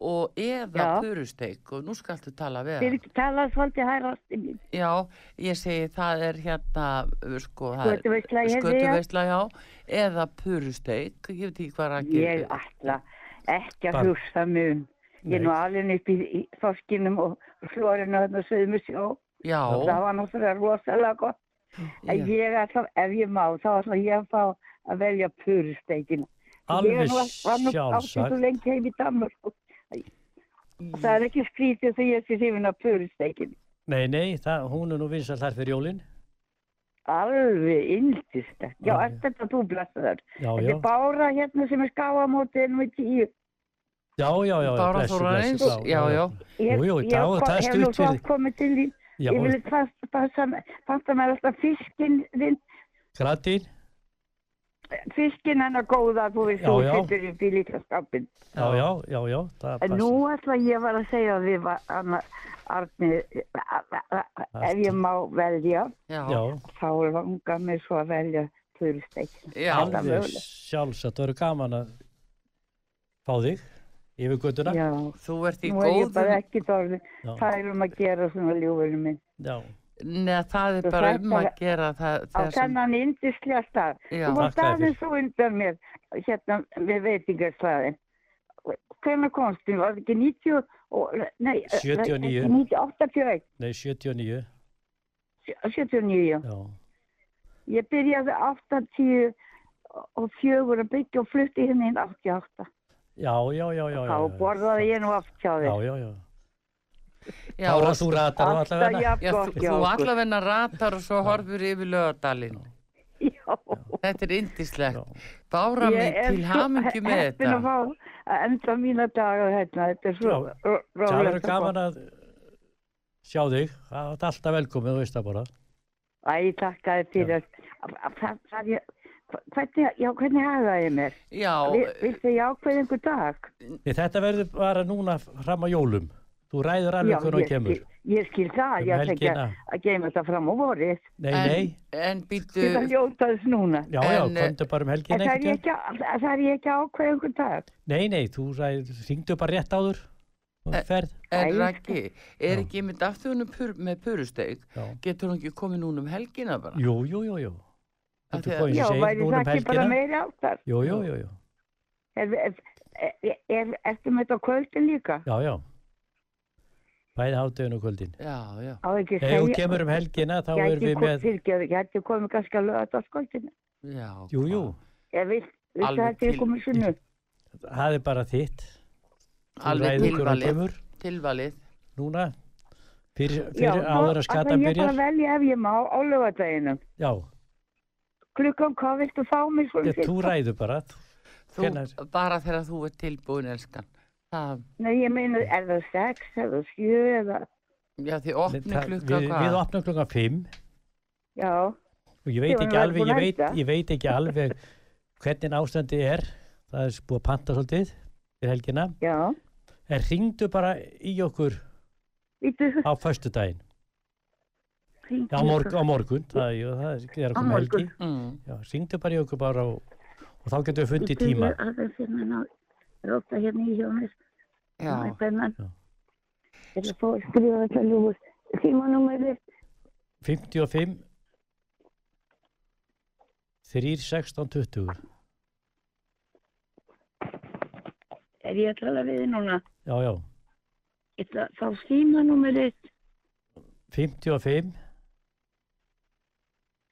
og eða Já. purusteik og nú skaltu tala við Þeir hann. ekki talað svolítið hæra ástin mín. Já, ég segi það er hérna, uh, sko, það er Skötuveisla, ég hefði ég. skötuveisla, já, eða purusteik, ég veit ekki hvað að Ég ætla ekki að Bara- hugsa mig um. Ég er nú alveg upp í, í þorskinum og flórinu og þarna sögum við sjó. Já, Það var náttúrulega rosalega gott. En já, ég ætla, ef ég má, þá ætla ég að fá að velja purusteikina. alveg Ég er nú átti svo sjálfsagt lengi heim í Danmark. Það er ekki skrítið þegar ég sé hrifin af purusteikin. nei, nei, það, hún er nú vinsal þar fyrir jólin alveg yndislegt. Já, Já, er já. þetta þú blessaður? Já, Þetta já, er Bára hérna sem er skáamótið nú í tíu. já, já, já, Bára blessuð, Þórarins, blessuð, já, já. Ég- Jú, jú, í ég dag, hef- það er hef stutt nú svo fyrir- oft komið til þín. Já, Ég vil passa, passa, passa mér alltaf fiskinn þinn, grættir, fiskinn hennar góða þú veist, Já, þú já. setur upp í lítla skápin. já, já, já, já, það En passar. nú ætla ég var að segja við var, anna, Arni, ef ég má velja, Já, já, þá langar mér svo að velja þurrsteik. já, það er alveg mögulegt. sjálfsagt, það eru gaman að fá þig yfir göttuna. Já, þú ert í nú er ég bara góðum, ekki dórðin. Já. Það er um að gera svona ljúfurinn minn. já, neða það er Þú bara þarft um að að- gera það, Á það sem, þennan indislega stað. já, Þú varst Þakka þér aðeins svo undan mér hérna við veitingarslaðin. Hvernig komst þið? Var það ekki 90 og... Nei, eh, 79. 90, 81, nei, 79, 79. já. já, Ég byrjaði 80 og fjögur að byggja og flutti hérna inn 88. já, já, já, já, já. Þá borðaði ég nú oft hjá Já, þig. já, já. já, Bára, og- þú ratar á Alltaf allavega. já, þú, jafngótt hjá þú okkur. allavegna ratar og svo horfur yfir lögadalinn, Já, þetta er indislegt, Já. Bára ég mig er til hamingju með heppin að þetta, fá að enda mína daga hérna. Þetta er svo Já. ró- Það rólegt. verður gaman að sjá þig, það er alltaf velkomið, þú veist það bara. Æ, takka þér fyrir. Það- það- það- ég- hva- Hvernig, já, hvernig hafa ég mér? já, Vi- Viltu ég ákveða einhver dag? Nei, þetta verður bara núna fram að jólum. Þú ræður Já, alveg hvernig ég, hún um kemur. ég, ég skil það, Um ég ætla ekki að- helgina. að geima þetta fram á vorið. Nei, nei, en, en býtu, Ég það ljóta þess núna. já, já, en, eh, komdu bara um En helgin það er einhvern ég veginn. ekki að- það er ég ekki að ákveða einhver dag. Nei, nei, þú ræður, syngdu bara rétt áður. Þú Eh, ferð, en Æ, Raggi, Já. er ekki mynd aftur húnum pur, með purusteg, já. getur hún ekki komið núna um helgina bara? Jú, jú, jú, jú. Af Þú því að- fóðin Já, sem segir væri það núna um ekki bara helgina. meiri áttar. Jú, jú, jú, jú. Er, er, er, er, ertu með þetta á kvöldin líka? Já, já. Bæði háttegin og kvöldin. Já, já, Á ekki Ef hún kemur um helgina, þá Ég erum við með... ætti komið kannski að löða þetta á kvöldinu. já. Jú, jú, hvað? Ég vil, vil Alveg það ekki til- komið sunnu. það er bara þitt. Þú Alveg ræður hvernig hún tilvalið. kemur tilvalið. núna. Fyrir, Já, fyrir þá áður að skata ætla ég bara byrjar. að velja ef ég má á lögadaginu. Já, Klukkan, hvað viltu fá mig svo? ég, þú ræður bara. Þú, Hvenær? bara þegar þú ert tilbúin, elskan. Það, Nei, ég meina, er það sex, er það sjö, eða, já, þið opni Það- klukka við, hvað? við opnum klukkan 5 já, og ég Ég veit var ekki nú alveg, búin ég að veit, hætta. ég veit ekki alveg hvernig ástandi er það er búið að panta svolítið fyrir helgina, já. en ringdu bara í okkur Vítu, á föstudaginn Já, á, morg, á morgun, það, jú, það er- er Á að koma helgi morgun. Mm. Já, ringdu bara í okkur bara og, og þá getum við fundið tíma Það er fyrir mér ná, róta hérna í hjónir, Já, það er bennan. Já. Ég ætla að fá að skrifa þetta ljúfur. Tímanúmerið, 55 3, 16, 20 er ég að tala við þig núna? Já, já, Ég ætla að fá tímanúmerið, 55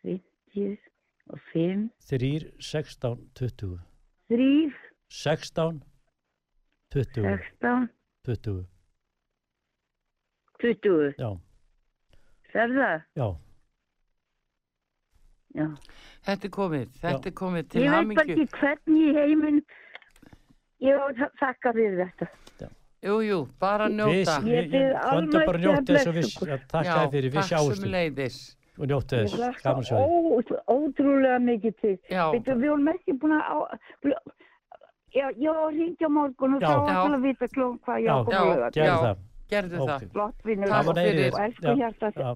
50 og 5, 3, 16, 20 3, 16 20 16, 20 20. já, Sér það? já, Já. þetta er komið, þetta er komið til ég veit bara hamingju. ekki hvernig í heiminn ég á að þakka fyrir þetta. Jú, jú, bara njóta. Við- Ég við- bið komdu almætti bara að að njóta þess og blessa við ykkur. já, takk þér fyrir, við sjáumst Takk sem leiðis. og Ég njóta þess, gaman hlakka sér ó, ótrúlega mikið til. Já, Veitu, við vorum ekki búin að... á- Já, ég var hringi á morgun og Já. þá var Já. það að vita klón hvað ég Já. á Já. að koma lögat. gerðu Já. það, gerðu Ok. það. Flott vinnur Takk gaman að heyra fyrir. og þér. elsku Já, hjarta já,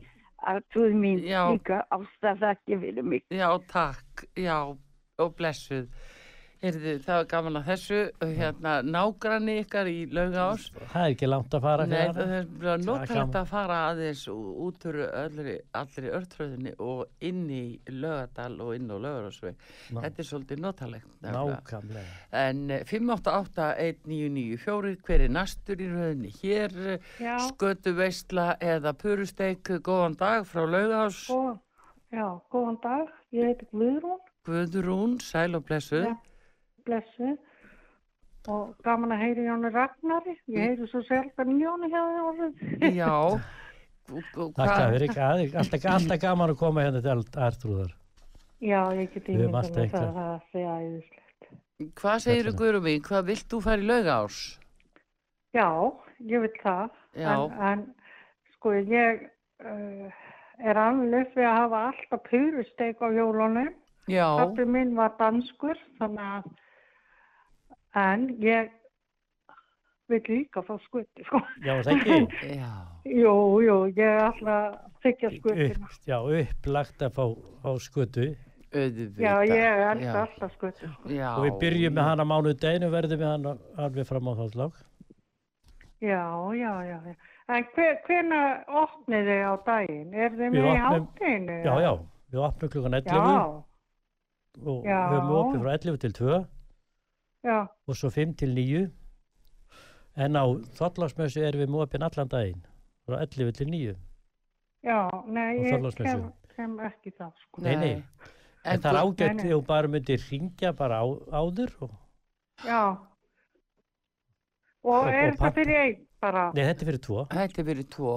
að trúð mín Já. líka ástæð þakki fyrir mig. Já, takk, já, og blessuð. Heyrðu, það var gaman að þessu, hérna, nágranni ykkar í laugás. það er ekki langt að fara Nei, hérna. það er bara notalegt gaman. að fara aðeins ú- út úr öllri, allri örtröðinni og inn í lögadal og inn á lögarásveg. Ná. Þetta er svolítið notalegt. nefnilega. nákvæmlega En eh, 588-1994, hver er næstur í röðinni? Hér Já, skötu veistla eða purusteik, góðan dag frá lögás, og, já, góðan dag. Ég heiti Guðrún, Guðrún, sæl og blessuð. Já. blessu. Og Mm. gaman að heyri Jónu Ragnari. Ég heyri svo sjálf að Jónu hjá þér orðið. Já, Takk Hvað? fyrir, það er alltaf, alltaf gaman að koma hérna til Artrúðar. Já, ég get Við höfum ímyndað alltaf mér það eitthvað. að það sé æðislegt. Hvað segir þú Guðrum mín? Hvað vilt þú fara í laugás? Já, ég vil það. Já. En, en sko ég uh, er alveg við að hafa alltaf purusteik á jólunum. Já, Pappi minn var danskur, þannig að, en ég vil líka fá skuti, sko. Já, er það ekki? já, Jú, jú, ég ætla að þykja skutina. Upp, já, upplagt að fá, fá skutu. auðvitað. Já, ég Já. elska alltaf skuti. Já. Og við byrjum með hana mánudeginu, verðum við hana alveg fram á þáttlák. Já, já, já, já. En hver, hvena opnið þið á daginn? Er þið Við með í opnum- hátinu? Já, já, við opnum klukkan 11 Já, og við já. höfum opið frá 11 til 2 já, og svo 5 til 9. En á þáttláksmessu erum við með opið allan daginn, frá 11 til 9. já, nei, Og ég Þorláksmessu. kem, kem ekki það, sko. Nei, nei. En það er Guð- ágætt Nei, nei. þegar hún bara myndir ringja bara á, áður og... Já. Og Og- er og það pabbi- fyrir einn bara? Nei, þetta er fyrir tvo. Þetta er fyrir tvo.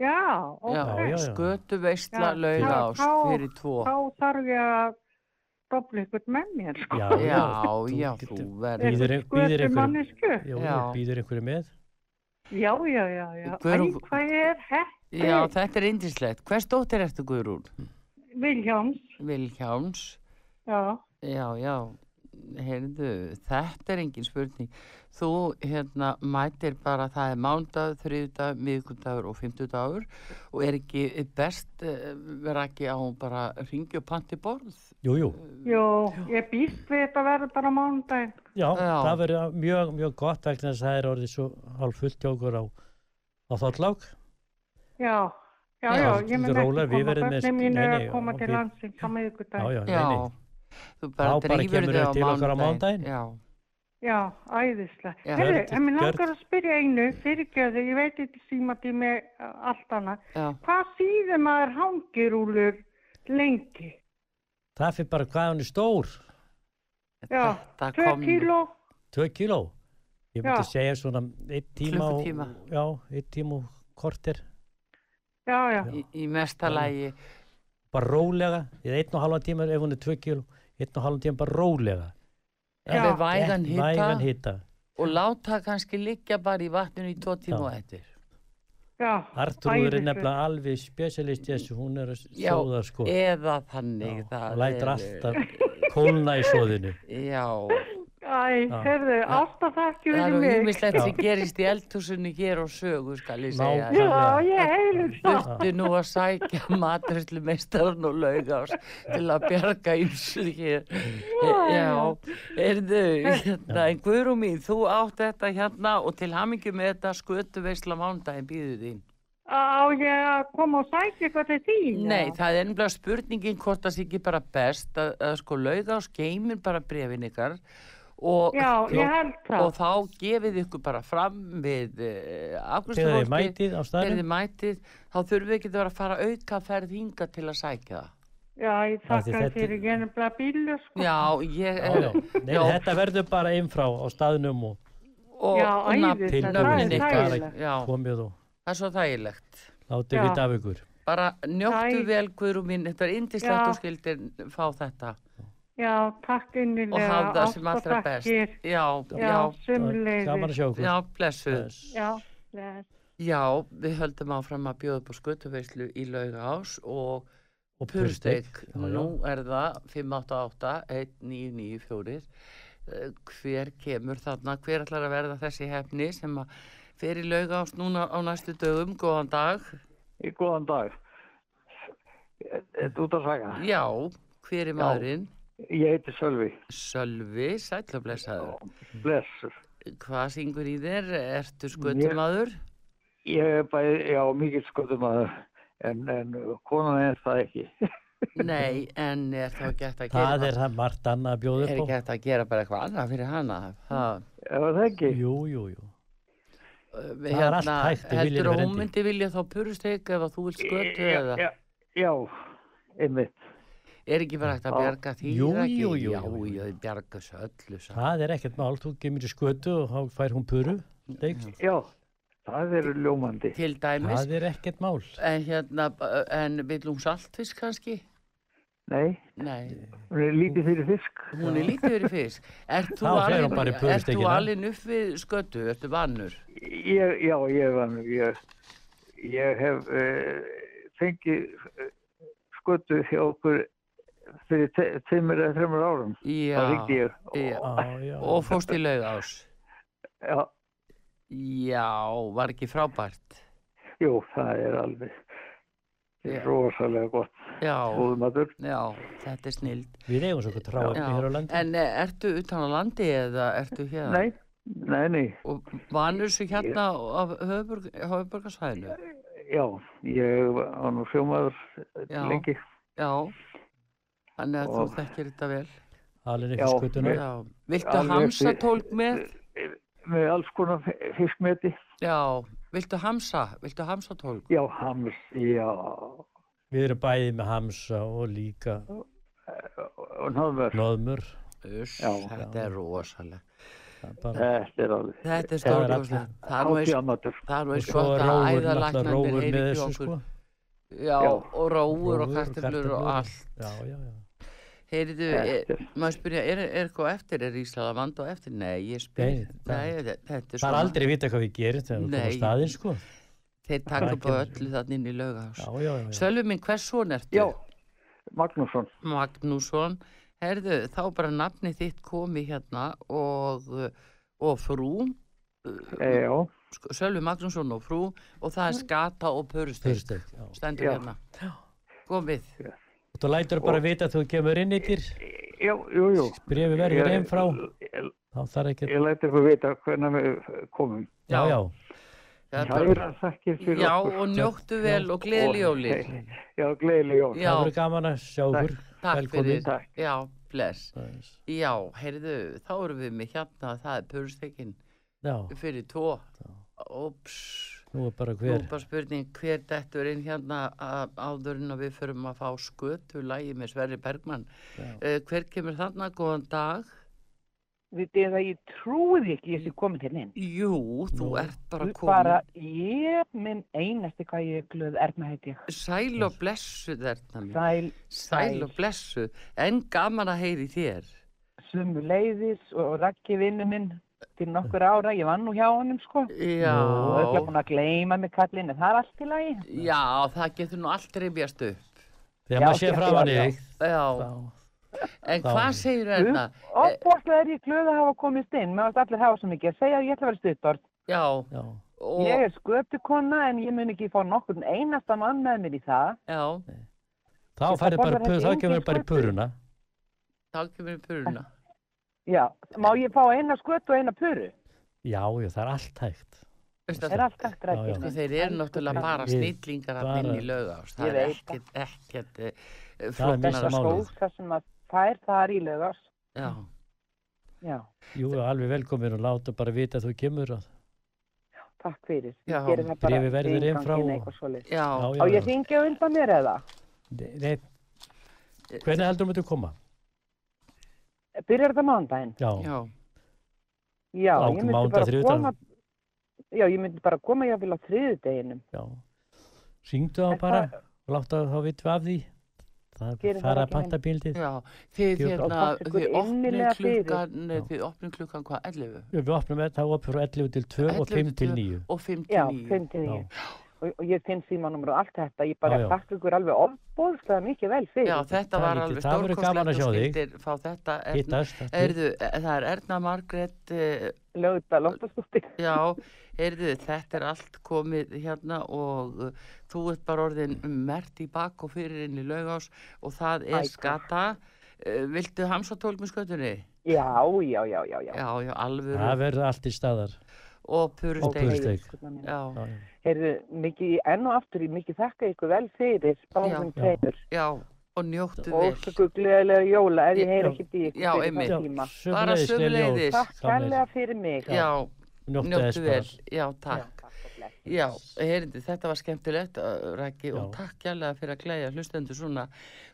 Já, ok. Já, já, já. skötu veistla Já, laugás já, já. fyrir tvo. þá þarf ég að dobla ykkur með mér sko. Já, Já, já, getur- þú Er verður. Býður- það býður skötu ykkur- mannesku? Já, Já. býður einhverju með. Já, já, já, já. Æ, Guðrún- hvað er hett? Já, þetta er indislegt. Hvers dóttir ertu Guðrún? Viljáms, Vilhjáms. já, Já, já, heyrðu, þetta er engin spurning. Þú, hérna, mætir bara, það er mándag, þriðdag, miðgundagur og fymtudagur og er ekki best eh, vera ekki á bara ringi og panti borð? Jú, jú. jú, ég býst við þetta verður bara mánudaginn. Já, Já. það verður mjög, mjög gott vegna þess að það er orðið svo hálf fullt hjá okkur á, á þáttlák. Já, já, Já, já, ég mun þetta er rólega, ekki við koma, verðum með- börnin mín nei, er nei, að koma og til við- landsins á Já, miðvikudaginn. já, nei, nei. þú bara Þá bara drýfur kemurðu þig á til okkar á mánudaginn. mánudaginn. Já, Já, æðislega. Já. Herru, Gjörðu- en mér gjörðu. langar að spyrja einu, fyrirgjöðu, ég veit eitthvað símatími uh, allt annað. já, Hvað síðum maður hangirúlur lengi? Það fyrir bara hvað hann er stór, Já, þetta 2 kíló, 2 kíló. Ég myndi Já. segja svona 1 tíma og, Klukkutíma. já, 1 tíma og kortir. já, já, Í, í mesta lagi, Bara rólega, eða 1 og halva tíma ef hún er 2 kíló, 1 og halva tíma bara rólega. já, við vægan Ekki hita Vægan hita. og láta kannski liggja bara í vatninu í tvo tíma Já. og eftir. já. Artrúður er æðislegt. nefnilega alveg spesialist í þessu, hún er að Já, sóða sko. Eða þannig, Já, það og lætur er- alltaf kólna í sóðinu. Já, Æ, Já. herðu, ásta Það þakki fyrir eru mig. ímislegt sem Já. gerist í eldhúsinu hér og sögu, skal ég segja. Ná- Ná, Já, ég heilur það. Þurftu nú að sækja matræslu meistaran og laugás til að bjarga ymsu hér. Já, erðu, hérna, en Guðrú mín, þú átt þetta hérna og til hamingju með þetta skötu veisla mándaginn býður þín. Á ég að koma og sækja eitthvað til þín? Nei, það er ennblega spurningin hvort það sé ekki bara best að, að sko laugás geymir bara brefin ykkar og Já, ég held það. og þá gefið ykkur bara fram við uh, Þegar þið afgjörsfólki mætið þegar á þið staðnum, mætið þá þurfum við ekki að vera að fara auka ferð hinga til að sækja það Já, ég Af þakka því þetta- fyrir genið blá bílu, sko. já, ég Já, já. Nei, Já. þetta verður bara innfrá á staðnum og og, Já, og æði, nafn- þetta er nöfnin ykkar þægilegt. já, komið og það er svo þægilegt látið Já. við af ykkur. bara njóttu Æ. vel Guðrú mín þetta er Já. indislegt og skildir fá þetta Já, takk og innilega. hafa það sem allra best já, Já, já, Gaman sumleiði. að sjá ykkur. já, blessuð Já, bless. já, við höldum áfram að bjóða upp á skutuveislu í laugás og Og Pursteik, já, já. nú er það 588-1994 Eh, hver kemur þarna, hver ætlar að verða þessi hefni sem að fer í laugás núna á næstu dögum, góðan dag Í góðan dag. Þetta út að saga. já, hver er maðurinn Ég heiti Sölvi. Sölvi, sællablessaður Blessur. hvað syngur í þér, ertu skötumadur Ég er bæði, já, mikill sköldumæður. En, en konan er það ekki. nei, en er þá ekki hægt að gera Það er það margt annað að bjóða er upp ekki hægt að gera bara eitthvað annað fyrir hana það Er það á. ekki? Jú, jú, jú. Hérna, er allt hægt ef viljinn heldur er að hún hendi. myndi vilja þá purusteik ef að þú vil skötu eða Já, já, einmitt. er ekki bara hægt að Já. bjarga því Jú, er það ekki? jú, jú, já, jú, jú. já, þið bjarga þessu öllu saman. Mm. Það er ekkert mál, þú gemur í skötu og þá fær hún puru. Steik. Já, það eru ljómandi. til dæmis. Það er ekkert mál. En hérna, b- en vil hún saltfisk kannski? Nei, Nei, hún er lítið fyrir fisk. hún er lítið verið fisk. Ert þú Þá fer hún alinn, bara í ert þú pöfusteikina. alinn upp við skötu, ertu vannur? Ég, já, ég var nú, ég, ég hef uh, fengið uh, skötu hjá okkur fyrir te- tveimur eða þreimur árum. Já, Það ríkti ég. já. Á, já. og fórst í laugás. Já, Já, var ekki frábært. jú, það er alveg Já. rosalega gott Já, fóðumatur. já, þetta er snild. Við eigum svo tráðum Já, hér á landi. en eh, ertu utan á landi eða ertu hérna? Nei, nei, nei, Og vannur svo hérna af höfuborg, höfuborgarsvæðinu? já, ég var nú sjómaður Já. lengi. Já, þannig að Og- þú þekkir þetta vel. Alveg Já, ekki skutuna. Já, viltu Alveg hamsa uppi- tólk með? Með alls konar fi- fiskmeti, Já, viltu hamsa? Viltu hamsa tólk? já, hams, já, Við erum bæði með hamsa og líka og náðumör. nóðmur. Uss, Já. þetta er rosalega. Það er bara- Þetta er alveg. Þetta er Það er stórkoslega. allt- Það er nú eins- Hátíðamatur. það er nú Og eins svo gott að er rófur, náttúrulega æðalagnarnir rófur heyri ekki með þessu okkur. sko. Já, Já. og rófur og Rófur karteflur og allt. Já, já, já. Heyriðu, Þetta er- er- maður spyrja, er er eitthvað eftir? Er Ísland að vanda á eftir? Nei, ég Nei, spyr. það- Nei, þe- þetta er Það er svona. aldrei vita hvað við gerum þegar við komum Nei. á staðinn sko. Þeir taka er upp á ekki- öllu þannig inn í laugahás. Já, já, já. já. Sölvi minn, hvers son ertu? Já, Magnússon. Magnússon, herðu, þá bara nafnið þitt komi hérna og, og frú, E, já, sk- Sölvi Magnússon og frú og það er skata og pörustegn, Fyrsteg, já. stendur Já. hérna. Komið, Og þú lætur bara vita að þú kemur inn yttir, já, jú, jú. brefi verður hérna Ég- einn frá, Ég, þá þarf ekki að... ég læti ykkur vita hvernig við komum. Já, Já. já. Það er bara- Hæra þakkir fyrir já okkur. og njóttu vel og gleðli jólin. Nei, Já, gleðileg jól. Já. Það verður gaman að sjá okkur. Takk fyrir, Velkomin. Takk. já, bless. Aðeins. Já, heyrðu, þá erum við með hérna, það er pörustegin Já, fyrir tvo. Óps. nú er bara Nú hver. bara spurning hver dettur inn hérna a- áður en að við förum að fá skötu lægi með Sverri Bergmann. Uh, hver kemur þarna? Góðan dag. Vitið þið að ég trúið ekki ég sé komin hérna inn. Jú, þú Nú. ert bara komin. Bara ég minn einasti hvað ég er glöð Erna heiti ég. Sæl og blessu þarna mér. Sæl, Sæl og blessu. En gaman að heyri þér. sumu leiðis og rakki vinnu minn til nokkur ára. Ég var nú hjá honum sko. Já, Og það er búin að gleyma mig kallinn en það er allt í lagi. já, það getur nú allt reyfjast upp. Þegar maður sé já, fram hann í já, já. þig, Já, þá... en þá- hvað segir þarna? Eh, Óbúrslega er ég glöð að hafa komist inn. Mér varst allir hafa svo mikið að segja að ég ætla að vera stuttorð. Já, Já, og, Ég er sköptukonna en ég mun ekki fá nokkurn einasta mann með mér í það. já, þá Ég- það færðu bara, borðar pu- ekki þá engin kemur bara í skötu. puruna. þá kemur við puruna. Já, má ég fá eina skötu og eina puru? Já, já, það er allt hægt. Veistu að Er allt hægt Já, já. rættið? Sko, þeir eru náttúrulega bara Við snillingar að bara- inn í laugás. Það Ég er veit ekkert, ekkert eh, Það er flóknara mesta en svo. málið. skóð þar sem að þær þar í lögars. Já, Já, Jú, alveg velkomin og láta bara vita að þú kemur. Og... takk fyrir. Já, Ég geri það bara bréfið verður við inn frá innganginn og- eitthvað svoleiðis. já, Já, Á já, ég hringi á undan mér eða? Nei, nei. Hvernig heldur þú að koma? Byrjar þetta mánudaginn? Já, já, Já, Á, ég myndi mánudag, bara þriðjudag. koma... Já, ég myndi bara koma ég að vilja á þriðudeginum. já. Syngdu þá En bara það- og láta þá vita af því. Það Gerir það fara að ekki panta bíldið. já. Þið Jú, hérna, og takk ykkur þið opnum innilega fyrir. klukkan, eh, þið opnum klukkan hvað, 11? Við opnum þetta, það er opið frá 11 til 2 11 og 5 til 9. Og 5 til Já, 9. fimm til Já. ég. Og, og ég finn símanumur og allt þetta. Ég bara Já, já. takk ykkur alveg ofbóðslega mikið vel fyrir. Já, þetta Það var lítið. alveg Það verður gaman að stórkostlegt sjá og þig. skildir fá þetta. Erna, Hittast, aftur. erðu, það er Erna Margrét, eh, Lögða, loftastúti. já, erðu, þetta er allt komið hérna og eh, þú ert bara orðin mert í bak og fyrir inn í laugás og það er Æ, takk. skata. Eh, Viltu hamsa tólk með skötunni? Já, já, já, já, já. Já, já, alvöru það verður allt í staðar. og Og purusteig. purusteg. Já. Já, Já, já. Heyrðu, mikið, enn og aftur, ég mikið þakka ykkur vel fyrir báðum Já. tveimur. já, og njóttu og vel. svo gleðilega jóla ef ég Já. heyr ekki í ykkur Já, fyrir einmitt. þann tíma. sömuleiðis, Lilja, og sömuleiðis. Takk framvegis. kærlega fyrir mig. Já, Njóttu þess Njóttu bara. vel, já, takk. Já, heyrindi, þetta var skemmtilegt, uh, Raggi, og takk kjærlega fyrir að glæja hlustendur svona.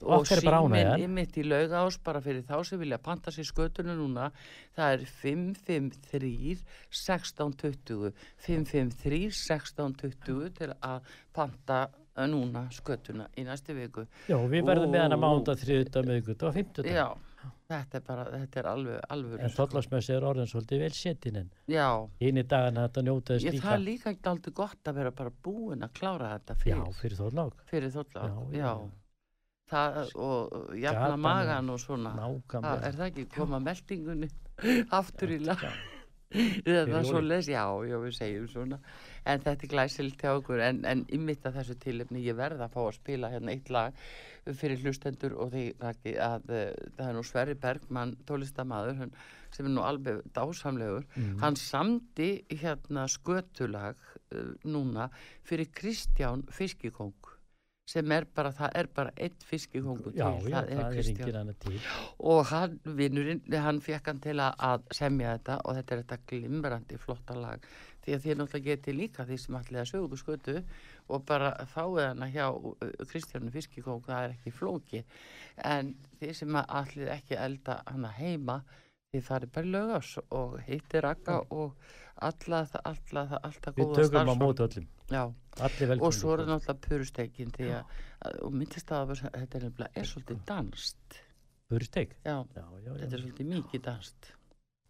Og Okkar er bara ánægjan. síminn ymmit í laugás bara fyrir þá sem vilja panta sér skötuna núna, það er 553 1620, 553 1620 til að panta uh, núna skötuna í næstu viku. Já, við verðum með hana Ó. mánda, þriðuta, miðuguta og fymtuta. Já, þetta er bara, þetta er alveg, alveg. En tóllasmessi er orðin svolítið vel setin en Já, eini dagana þetta njóta þess ég, líka. það er líka ekki aldrei gott að vera bara búin að klára þetta Já, fyrir. fyrir þóllák. fyrir þóllák, Já, já, já. Það, og uh, jafna Gatan er magan og svona nákvæmlega. Ah, það, er það ekki koma meldingunni aftur í lag eða Fyrir það jólin. svo les, já, já, við segjum svona en þetta er glæsilt hjá okkur en, en ymmit að þessu tilefni, ég verð að fá að spila hérna eitt lag fyrir hlustendur og því Raggi, að uh, það er nú Sverri Bergmann, tólistamaður hann, sem er nú alveg dásamlegur Mm. Mhm. hann samdi hérna skötulag uh, núna fyrir Kristján Fiskikong sem er bara, það er bara einn fiskikongu til, Já, já, það er Kristján engin annað til. og hann, vinnurinn, hann fekk hann til að, að semja þetta og þetta er þetta glimrandi flotta lag því að þið náttúrulega getið líka því sem allir að sögu skötu og bara fáið hana hjá uh, Kristjánu Fiskikók það er ekki flóki en þið sem að allir ekki elda hana heima þið farið bara í lögás og hittir akka og alla, alla, alla, allt það Við góða tökum á starfsfólk. móti öllum. Já, Allir velkomnir. og svo er það náttúrulega purustekin því að, að- og myndist það að þetta er nefnilega er svolítið danst Bursteik. já, Já, já, já. þetta er svolítið mikið danst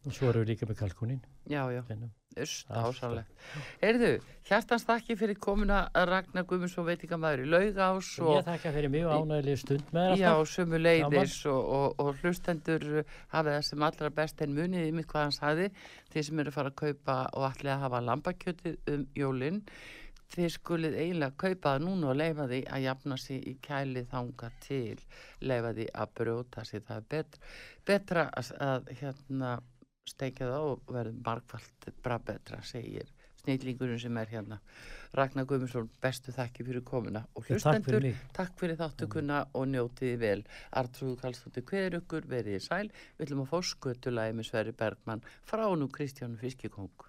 Og svo erum við líka með kalkunin. já, já, Finnum. öst Alltaf. ásálegt Erðu, hjartans þakki fyrir komuna Ragnar Guðmundsson veitingamæður í Laugás Ég og þakka fyrir mjög ánægileg stund með þér já, alltaf. sömu leiðis og, og, og hlustendur uh, hafi það sem allra best en munið yfir hvað hann sagði þeir sem eru að fara að kaupa og allir að hafa lambakjötið um jólinn þið skulið eiginlega kaupa það núna og leifa því að jafna sig í kæli þanga til, leifa því að brjóta sig, það er betra, betra að, að hérna steikja það og verður margfald bra betra, segir snillingurinn sem er hérna. Ragnar Guðmundsson, bestu þakki fyrir komuna og Ég takk fyrir hlustendur, mig. takk fyrir þáttukuna og njótiði vel. Artrúðu Karlsdóttir hver ykkur, verið í sæl, við ætlum að fá skötulagi með Sverri Bergmann frá nú Kristjánu Fiskikóngu.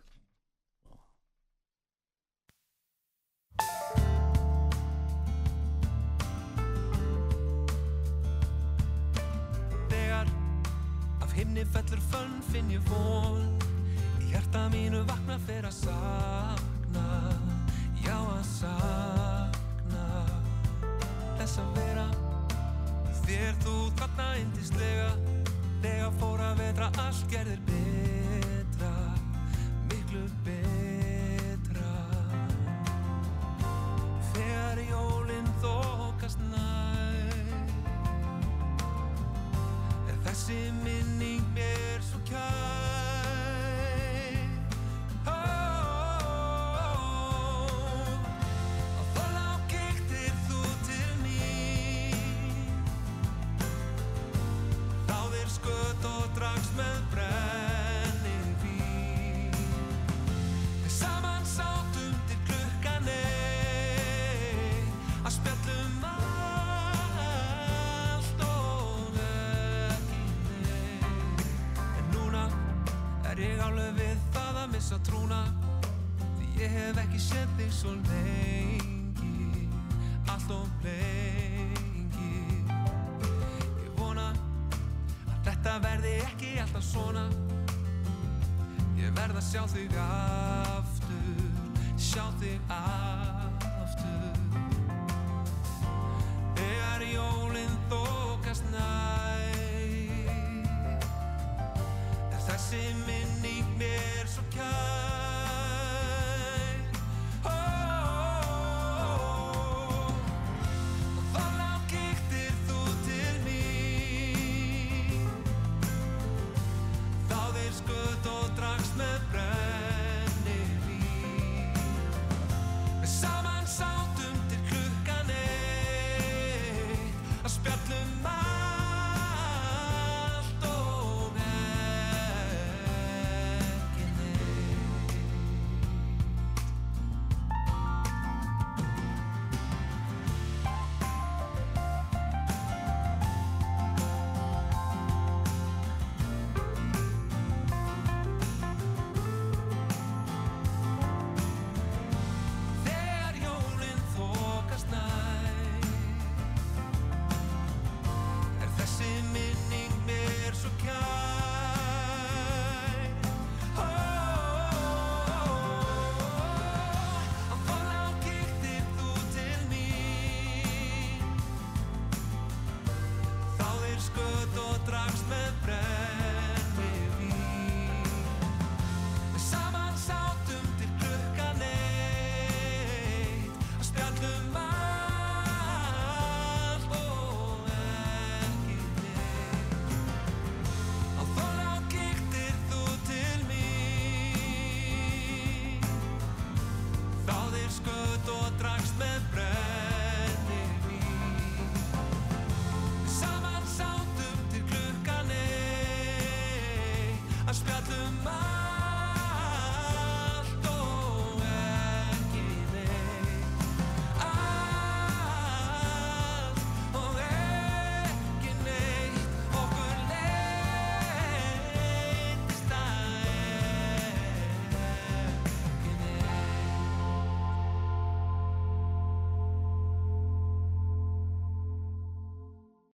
Þegar af himni fellur fönn finn ég von Í hjarta mínu vakna fyrir að sakna Já að sakna Þess að vera með Þér þú þarna indislega Þegar fór að vetra allt gerðir betra Miklu betra Þegar jólin þókast nær Er þessi minning mér svo kær Ó, Á Þorlák kíktir þú til mín Þáðir skött og dragst með brennivín Við saman sátum til klukkan eitt að spjallum allt og ekki neitt En núna er ég alveg við það að missa trúna Því ég hef ekki séð þig svo lengi allt og lengi Ég vona að þetta verði ekki alltaf svona Ég verð að sjá þig aftur, sjá þig aftur Þegar jólinn þókast nær Er þessi minning mér svo kær Ó, Og Þorlák kíktir þú til mín Þáðir skutt og dragst með brennivín Við sáum með brem